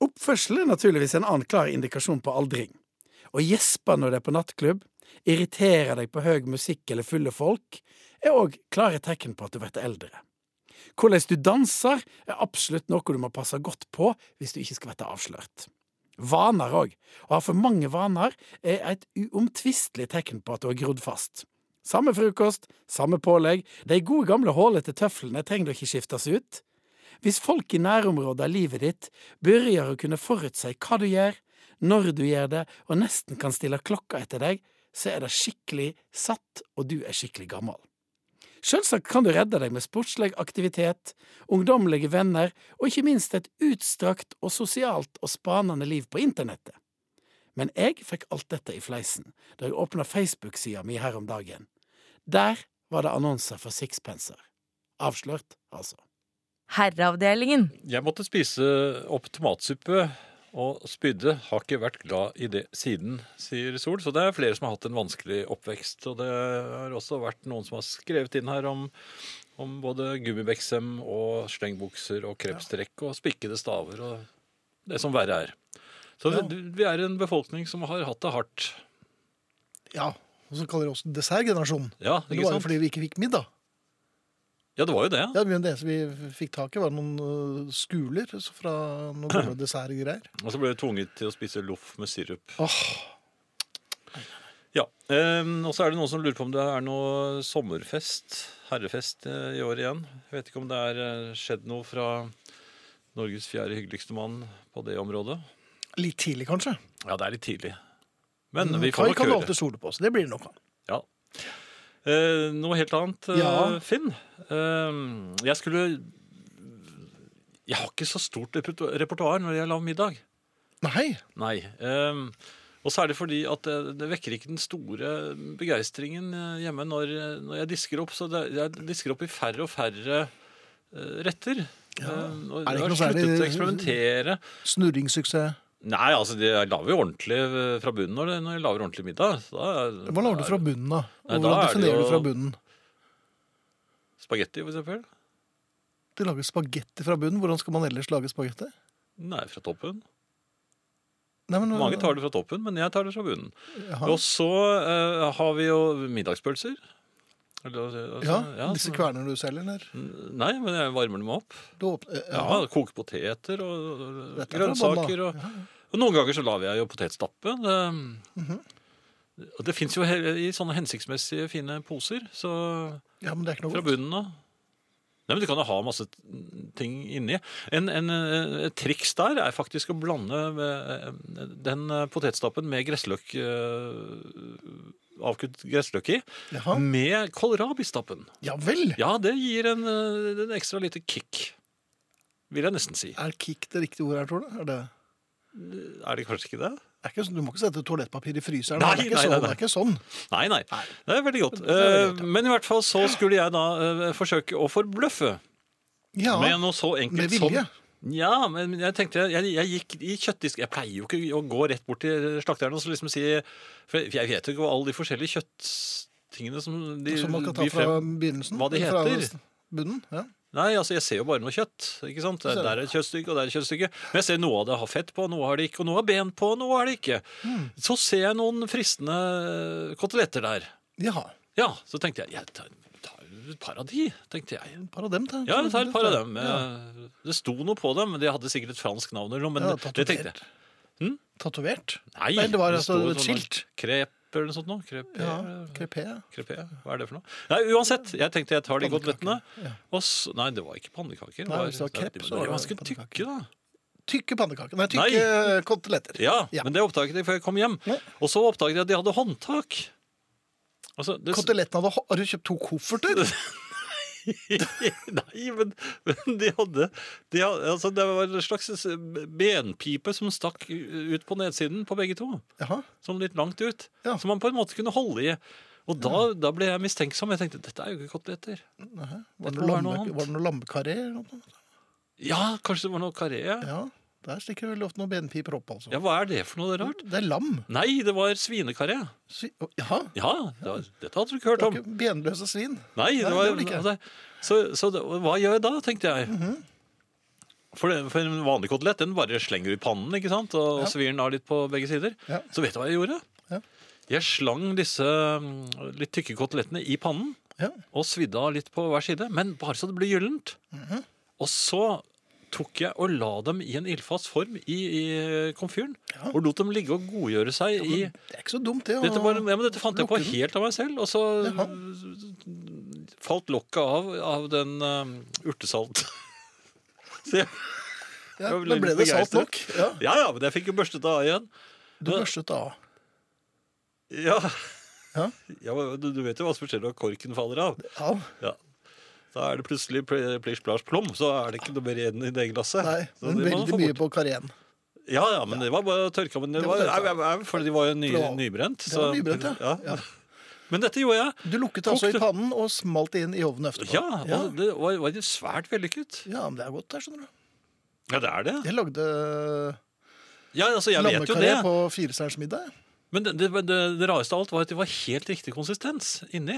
Speaker 12: Oppførsel er naturligvis en annen klar indikasjon på aldring. Å gjespe når det er på nattklubb, irritere deg på høy musikk eller fulle folk, er òg klare tegn på at du blir eldre. Hvordan du danser, er absolutt noe du må passe godt på hvis du ikke skal bli avslørt. Vaner òg. Å ha for mange vaner er et uomtvistelig tegn på at du har grodd fast. Samme frokost, samme pålegg, de gode gamle hålete tøflene trenger du ikke skiftes ut. Hvis folk i nærområdet av livet ditt begynner å kunne forutse hva du gjør, når du gjør det, og nesten kan stille klokka etter deg, så er det skikkelig satt, og du er skikkelig gammel. Selvsagt kan du redde deg med sportslig aktivitet, ungdommelige venner og ikke minst et utstrakt og sosialt og spanende liv på internettet. Men jeg fikk alt dette i fleisen da jeg åpna Facebook-sida mi her om dagen. Der var det annonser for sixpenser. Avslørt, altså.
Speaker 11: Herreavdelingen.
Speaker 2: Jeg måtte spise opp tomatsuppe og spydde. Har ikke vært glad i det siden, sier Sol. Så det er flere som har hatt en vanskelig oppvekst. Og det har også vært noen som har skrevet inn her om, om både gummibeksem og slengbukser og krepstrekk og spikkede staver og det som verre er. Så
Speaker 1: Ja.
Speaker 2: du- vi er en befolkning som har hatt det hardt.
Speaker 1: Ja, og så kaller de oss dessertgenerasjonen.
Speaker 2: Ja,
Speaker 1: Men Det
Speaker 2: ikke
Speaker 1: var jo
Speaker 2: sant?
Speaker 1: fordi vi ikke fikk middag.
Speaker 2: Ja, det var jo det.
Speaker 1: Ja, men Det eneste vi fikk tak i, var noen øh, skuler så fra noen gode dessertgreier.
Speaker 2: Og så ble jeg tvunget til å spise loff med sirup.
Speaker 1: Åh,
Speaker 2: Ja, ehm, og så er det noen som lurer på om det er noe sommerfest, herrefest, eh, i år igjen. Jeg vet ikke om det er eh, skjedd noe fra Norges fjerde hyggeligste mann på det området.
Speaker 1: litt tidlig, kanskje.
Speaker 2: Ja, det er litt tidlig. Men
Speaker 1: Mm,
Speaker 2: vi
Speaker 1: Kai
Speaker 2: får nok
Speaker 1: kan
Speaker 2: høre.
Speaker 1: alltid stole på oss. Det blir det nok av.
Speaker 2: Ja. Eh, noe helt annet, eh,
Speaker 1: Ja.
Speaker 2: Finn. Ehm, jeg skulle Jeg har ikke så stort reperto- repertoar når jeg lager middag.
Speaker 1: Nei.
Speaker 2: Nei. ehm, og særlig fordi at det, det vekker ikke den store begeistringen eh, hjemme når, når jeg disker opp. Så det, jeg disker opp i færre og færre eh, retter. Ehm, og
Speaker 1: Er det
Speaker 2: jeg
Speaker 1: ikke
Speaker 2: har
Speaker 1: noe særlig-
Speaker 2: sluttet å eksperimentere.
Speaker 1: Snurringssuksess.
Speaker 2: Nei, altså, det- jeg lager jo ordentlig eh, fra bunnen når, det- når jeg lager ordentlig middag. Så Da,
Speaker 1: Hva lager du fra bunnen, da?
Speaker 2: Nei,
Speaker 1: Og
Speaker 2: da
Speaker 1: Hvordan
Speaker 2: er det
Speaker 1: definerer
Speaker 2: jo-
Speaker 1: du fra bunnen?
Speaker 2: Spagetti, for eksempel.
Speaker 1: De lager spagetti fra bunnen. Hvordan skal man ellers lage spagetti?
Speaker 2: Nei, fra toppen.
Speaker 1: Nei, men-
Speaker 2: Mange tar det fra toppen, men jeg tar det fra bunnen.
Speaker 1: Jaha.
Speaker 2: Og så eh, har vi jo middagspølser. Eller, altså,
Speaker 1: Ja,
Speaker 2: ja,
Speaker 1: Disse
Speaker 2: så-
Speaker 1: kverner du selv, eller?
Speaker 2: Nei, men jeg varmer dem opp.
Speaker 1: Du eh, åpner,
Speaker 2: Ja, Koke poteter og og
Speaker 1: Dette er fra
Speaker 2: grønnsaker.
Speaker 1: bånn,
Speaker 2: Og, og noen ganger så lager jeg jo potetstappe. Det,
Speaker 1: Mhm.
Speaker 2: og det fins jo he- i sånne hensiktsmessige fine poser. Så
Speaker 1: Ja, men det er ikke noe
Speaker 2: fra
Speaker 1: godt.
Speaker 2: bunnen av. Nei, men Du kan jo ha masse ting inni. En, en, eh, et triks der er faktisk å blande eh, den eh, potetstappen med gressløk eh, Avkuttet gressløk i. Med kålrabistappen.
Speaker 1: Ja vel!
Speaker 2: Ja, det gir en, eh, en ekstra lite kick. Vil jeg nesten si.
Speaker 1: Er kick det riktige ordet her, tror du? Er det,
Speaker 2: Er det kanskje ikke det?
Speaker 1: det er ikke, sånn- du må ikke sette toalettpapir i fryseren.
Speaker 2: Nei,
Speaker 1: det, er ikke
Speaker 2: nei,
Speaker 1: sånn,
Speaker 2: nei, nei.
Speaker 1: det er ikke sånn.
Speaker 2: Nei, nei. Det er veldig godt.
Speaker 1: veldig
Speaker 2: Eh, Men i hvert fall så skulle jeg da eh, forsøke å forbløffe.
Speaker 1: Ja,
Speaker 2: med noe så enkelt
Speaker 1: med vilje.
Speaker 2: som ja, men jeg tenkte, jeg, jeg gikk i kjøttdisk Jeg pleier jo ikke å gå rett bort til slakteren og så liksom si For jeg- jeg vet jo ikke hva alle de forskjellige kjøtttingene som de
Speaker 1: Som man kan ta
Speaker 2: de
Speaker 1: fra begynnelsen.
Speaker 2: Hva de
Speaker 1: eller fra
Speaker 2: heter.
Speaker 1: Bunnen, ja.
Speaker 2: Nei, altså jeg ser jo bare noe kjøtt. ikke sant?
Speaker 1: Du ser
Speaker 2: Der er et kjøttstykke, og der er et kjøttstykke. Men jeg ser noe av det har fett på, noe har det ikke, og noe har ben på, noe har det ikke.
Speaker 1: Mm.
Speaker 2: Så ser jeg noen fristende koteletter der.
Speaker 1: Jaha.
Speaker 2: Ja, så tenkte jeg, jeg tar, tar et par av de, tenkte jeg.
Speaker 1: Par av dem, ta.
Speaker 2: Ja, jeg tar et par av dem.
Speaker 1: Ja.
Speaker 2: Eh, Det sto noe på dem, men de hadde sikkert et fransk navn eller noe, men
Speaker 1: Ja,
Speaker 2: det tenkte jeg.
Speaker 1: Tatovert?
Speaker 2: Nei,
Speaker 1: det var altså
Speaker 2: sto
Speaker 1: et
Speaker 2: sånn
Speaker 1: skilt.
Speaker 2: Krep eller noe sånt noe. Krep,
Speaker 1: Ja, krepé.
Speaker 2: krepé, hva er det for noe? Nei, uansett, jeg tenkte jeg tar de kotelettene.
Speaker 1: ja.
Speaker 2: Og så- Nei, det var ikke pannekaker.
Speaker 1: Nei, hvis det var krepp, så
Speaker 2: de
Speaker 1: var
Speaker 2: var
Speaker 1: det
Speaker 2: ganske tykke, da.
Speaker 1: Tykke pannekaker. Nei,
Speaker 2: Nei.
Speaker 1: tykke eh, koteletter.
Speaker 2: Ja, men det oppdaget jeg før jeg kom hjem. Og så oppdaget jeg at de hadde håndtak. Altså, det,
Speaker 1: Kotelettene hadde Har du kjøpt to kofferter?
Speaker 2: nei, men, men de hadde, de hadde altså, Det var en slags eh, benpipe som stakk ut på nedsiden på begge to. Som litt langt ut. Som man på en måte kunne holde i. Og da, da ble jeg mistenksom. Jeg tenkte dette er jo ikke koteletter.
Speaker 1: Nei, Var det
Speaker 2: Dette må
Speaker 1: noe lammekaré? Var
Speaker 2: være noe annet.
Speaker 1: det noe lammekarré eller noe sånt?
Speaker 2: Ja, kanskje det var noe karé.
Speaker 1: Ja, der stikker vel ofte noen benpiper opp, altså.
Speaker 2: Ja, hva er det for noe? Det er rart.
Speaker 1: Det er lam.
Speaker 2: Nei, det var svinekaré.
Speaker 1: Jaha.
Speaker 2: Ja, det var, dette hadde du ikke hørt
Speaker 1: Det
Speaker 2: om.
Speaker 1: er ikke benløse svin.
Speaker 2: Nei, det
Speaker 1: Nei,
Speaker 2: var,
Speaker 1: det var det ikke. Mhm.
Speaker 2: altså, Så, så det, hva gjør jeg da, tenkte jeg. for, det, for en vanlig kotelett, den bare slenger du i pannen, ikke sant? Og,
Speaker 1: Ja.
Speaker 2: og svir den av litt på begge sider.
Speaker 1: Ja.
Speaker 2: Så vet du hva jeg gjorde?
Speaker 1: Ja.
Speaker 2: Jeg slang disse mm, litt tykke kotelettene i pannen, og svidde av litt på hver side, men bare så det ble gyllent.
Speaker 1: Mhm.
Speaker 2: Og så tok jeg og la dem i en ildfast form i, i komfyren, og lot dem ligge og godgjøre seg i...
Speaker 1: Det er ikke så dumt, det. å-
Speaker 2: Dette, var, ja, men dette fant jeg på
Speaker 1: lukke den.
Speaker 2: helt av meg selv, og så falt lokket av av den eh, urtesalt. Så jeg,
Speaker 1: Ja,
Speaker 2: jeg ble
Speaker 1: men ble
Speaker 2: litt
Speaker 1: det salt
Speaker 2: begeistret.
Speaker 1: nok? Ja.
Speaker 2: ja, ja, men jeg fikk jo børstet det av igjen.
Speaker 1: Du børstet det av.
Speaker 2: Ja. Ja, men du, du vet jo hva som skjer når korken faller av.
Speaker 1: Ja.
Speaker 2: Da er det plutselig pl- plisj, plasj, plom, så er det ikke noe mer igjen i det glasset.
Speaker 1: Nei,
Speaker 2: Så
Speaker 1: men
Speaker 2: det må man
Speaker 1: veldig
Speaker 2: få
Speaker 1: mye på karreen.
Speaker 2: Ja, ja, men det var bare å tørke av. Men det
Speaker 1: Det var
Speaker 2: var,
Speaker 1: tørka.
Speaker 2: au, au, au, for de var jo ny,
Speaker 1: Det var-
Speaker 2: nybrent.
Speaker 1: det var nybrent, ja. Ja.
Speaker 2: Men dette gjorde jeg.
Speaker 1: Du lukket det altså i
Speaker 2: Kokte-
Speaker 1: pannen og smalt det inn i ovnen etterpå.
Speaker 2: Ja, og
Speaker 1: ja.
Speaker 2: det var, var jo svært vellykket.
Speaker 1: Ja, men det er godt der, skjønner du.
Speaker 2: Ja, det er det.
Speaker 1: Jeg lagde
Speaker 2: Ja, altså, jeg vet jo
Speaker 1: lammekaré
Speaker 2: det.
Speaker 1: på firestjerners middag.
Speaker 2: Men det, det, det, det rareste av alt var at de var helt riktig konsistens inni.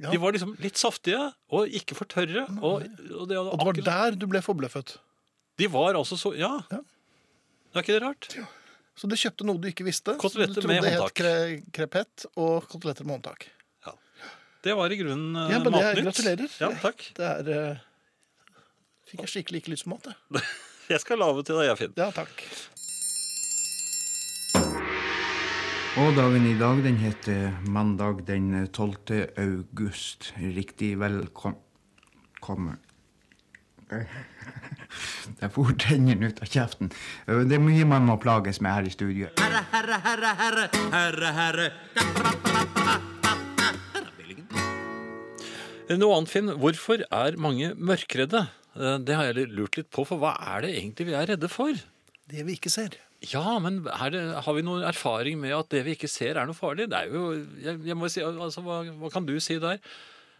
Speaker 1: Ja.
Speaker 2: De var liksom litt saftige og ikke for tørre. Og, og det,
Speaker 1: Og det var der du ble forbløffet.
Speaker 2: de var altså så Ja. Det er ikke det rart?
Speaker 1: Så du kjøpte noe du ikke visste. så du
Speaker 2: Koteletter
Speaker 1: trodde
Speaker 2: med
Speaker 1: det het
Speaker 2: håndtak.
Speaker 1: kre krepett og koteletter med håndtak.
Speaker 2: Det var i grunnen eh,
Speaker 1: Ja, men det er,
Speaker 2: matnytt.
Speaker 1: gratulerer.
Speaker 2: Ja, takk.
Speaker 1: Det er eh, Fikk jeg skikkelig ikke lyst på mat, jeg.
Speaker 2: Jeg skal lage til deg, jeg, Finn.
Speaker 1: Ja, takk.
Speaker 13: Og dagen i dag, den heter mandag den 12. august. Riktig velkommen. Jeg får tennene ut av kjeften. Det er mye man må plages med her i studio.
Speaker 14: Herre, herre, herre, herre, herre, herre.
Speaker 2: Eh, Noe annet, Finn. Hvorfor er mange mørkredde? Eh, Det har jeg lurt litt på, for hva er det egentlig vi er redde for?
Speaker 1: Det vi ikke ser.
Speaker 2: Ja, men er det, har vi noen erfaring med at det vi ikke ser er noe farlig? Det er jo, jeg, jeg må jo si, altså, hva, hva kan du si der?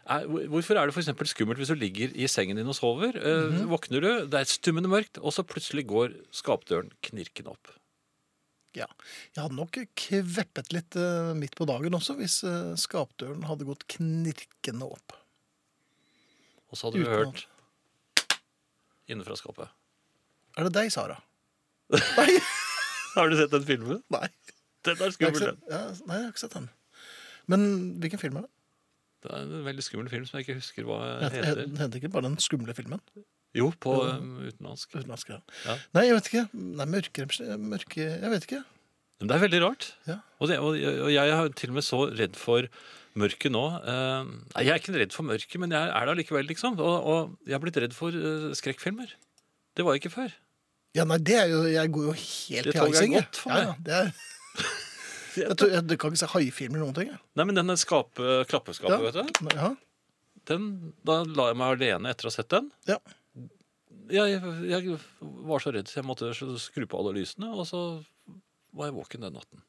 Speaker 2: Er, hvor- hvorfor er det for eksempel skummelt hvis du ligger i sengen din og sover? Eh, våkner du, det er stummende mørkt, og så plutselig går skapdøren knirkende opp.
Speaker 1: Ja. Jeg hadde nok kveppet litt eh, midt på dagen også, hvis eh, skapdøren hadde gått knirkende opp.
Speaker 2: Og så hadde du
Speaker 1: Uten
Speaker 2: hørt innenfra skapet.
Speaker 1: Er det deg, Sara?
Speaker 2: Har du sett den filmen?
Speaker 1: Nei.
Speaker 2: Den
Speaker 1: Jeg
Speaker 2: er
Speaker 1: har ikke
Speaker 2: skummel, den.
Speaker 1: sett- Ja, nei, jeg har ikke sett den. Men hvilken film er det?
Speaker 2: Det er en veldig skummel film som jeg ikke husker hva
Speaker 1: Den heter,
Speaker 2: heter.
Speaker 1: den heter ikke bare Den skumle filmen?
Speaker 2: eh, Jo, på
Speaker 1: Jo.
Speaker 2: um, utenlandsk.
Speaker 1: Utenlandsk, ja.
Speaker 2: Ja.
Speaker 1: Nei, jeg vet ikke. Nei, mørke, mørke Jeg vet ikke.
Speaker 2: Men det er veldig rart.
Speaker 1: Ja.
Speaker 2: Og, det, og, og jeg er til og med så redd for mørket nå. Eh, nei, jeg er ikke redd for mørket, men jeg er det allikevel, liksom. Og, og jeg er blitt redd for eh, skrekkfilmer. Det var jeg ikke før.
Speaker 1: Ja, nei, det er jo Jeg går jo helt
Speaker 2: Det
Speaker 1: til
Speaker 2: toget er
Speaker 1: haising. jeg.
Speaker 2: gått for
Speaker 1: Ja,
Speaker 2: meg.
Speaker 1: ja, det er jeg, tror, jeg, du kan ikke se haifilmer eller noen ting. jeg.
Speaker 2: Nei, men den skape, klappeskapet, vet du.
Speaker 1: Ja.
Speaker 2: Den, da la jeg meg alene etter å ha sett den.
Speaker 1: Ja.
Speaker 2: Jeg, jeg var så redd, så jeg måtte skru på alle lysene, og så var jeg våken den natten.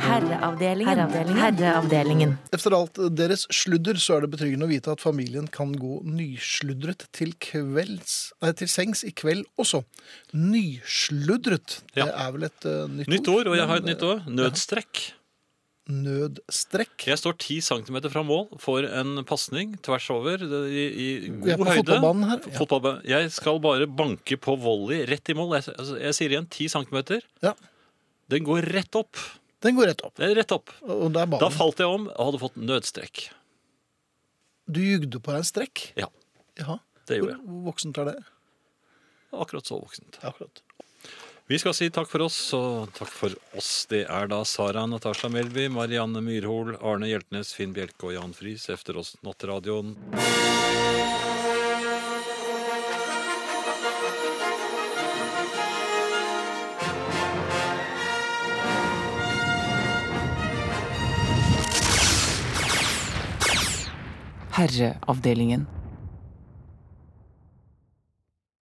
Speaker 11: Herreavdelingen. Herreavdelingen.
Speaker 1: Efter alt deres sludder, så er det betryggende å vite at familien kan gå nysludret til, kvelds, nei, til sengs i kveld også. Nysludret, det er vel et eh, nytt,
Speaker 2: Nytt ord, og jeg har et
Speaker 1: men,
Speaker 2: nytt ord. Nødstrekk.
Speaker 1: Nødstrekk.
Speaker 2: Jeg står 10 cm fra mål for en pasning tvers over det- i, i
Speaker 1: Vi er
Speaker 2: god
Speaker 1: på
Speaker 2: høyde.
Speaker 1: fotballbanen her, ja.
Speaker 2: Fotballbanen. Jeg skal bare banke på volley rett i mål. Jeg, altså, jeg sier igjen 10 cm.
Speaker 1: Ja.
Speaker 2: Den går rett opp.
Speaker 1: Den går rett opp.
Speaker 2: Det er rett opp.
Speaker 1: Og det er
Speaker 2: Da
Speaker 1: ballen.
Speaker 2: falt jeg om og hadde fått nødstrekk.
Speaker 1: Du jugde på deg en strekk?
Speaker 2: Ja,
Speaker 1: Jaha.
Speaker 2: det gjorde jeg.
Speaker 1: Hvor voksent er det?
Speaker 2: Akkurat så voksent.
Speaker 1: Akkurat.
Speaker 2: Vi skal si takk for oss, og takk for oss. Det er da Sara Natasha Melby, Marianne Myrhol, Arne Hjeltnes, Finn Bjelke og Jan Friis efter oss Nattradioen.
Speaker 15: Herreavdelingen.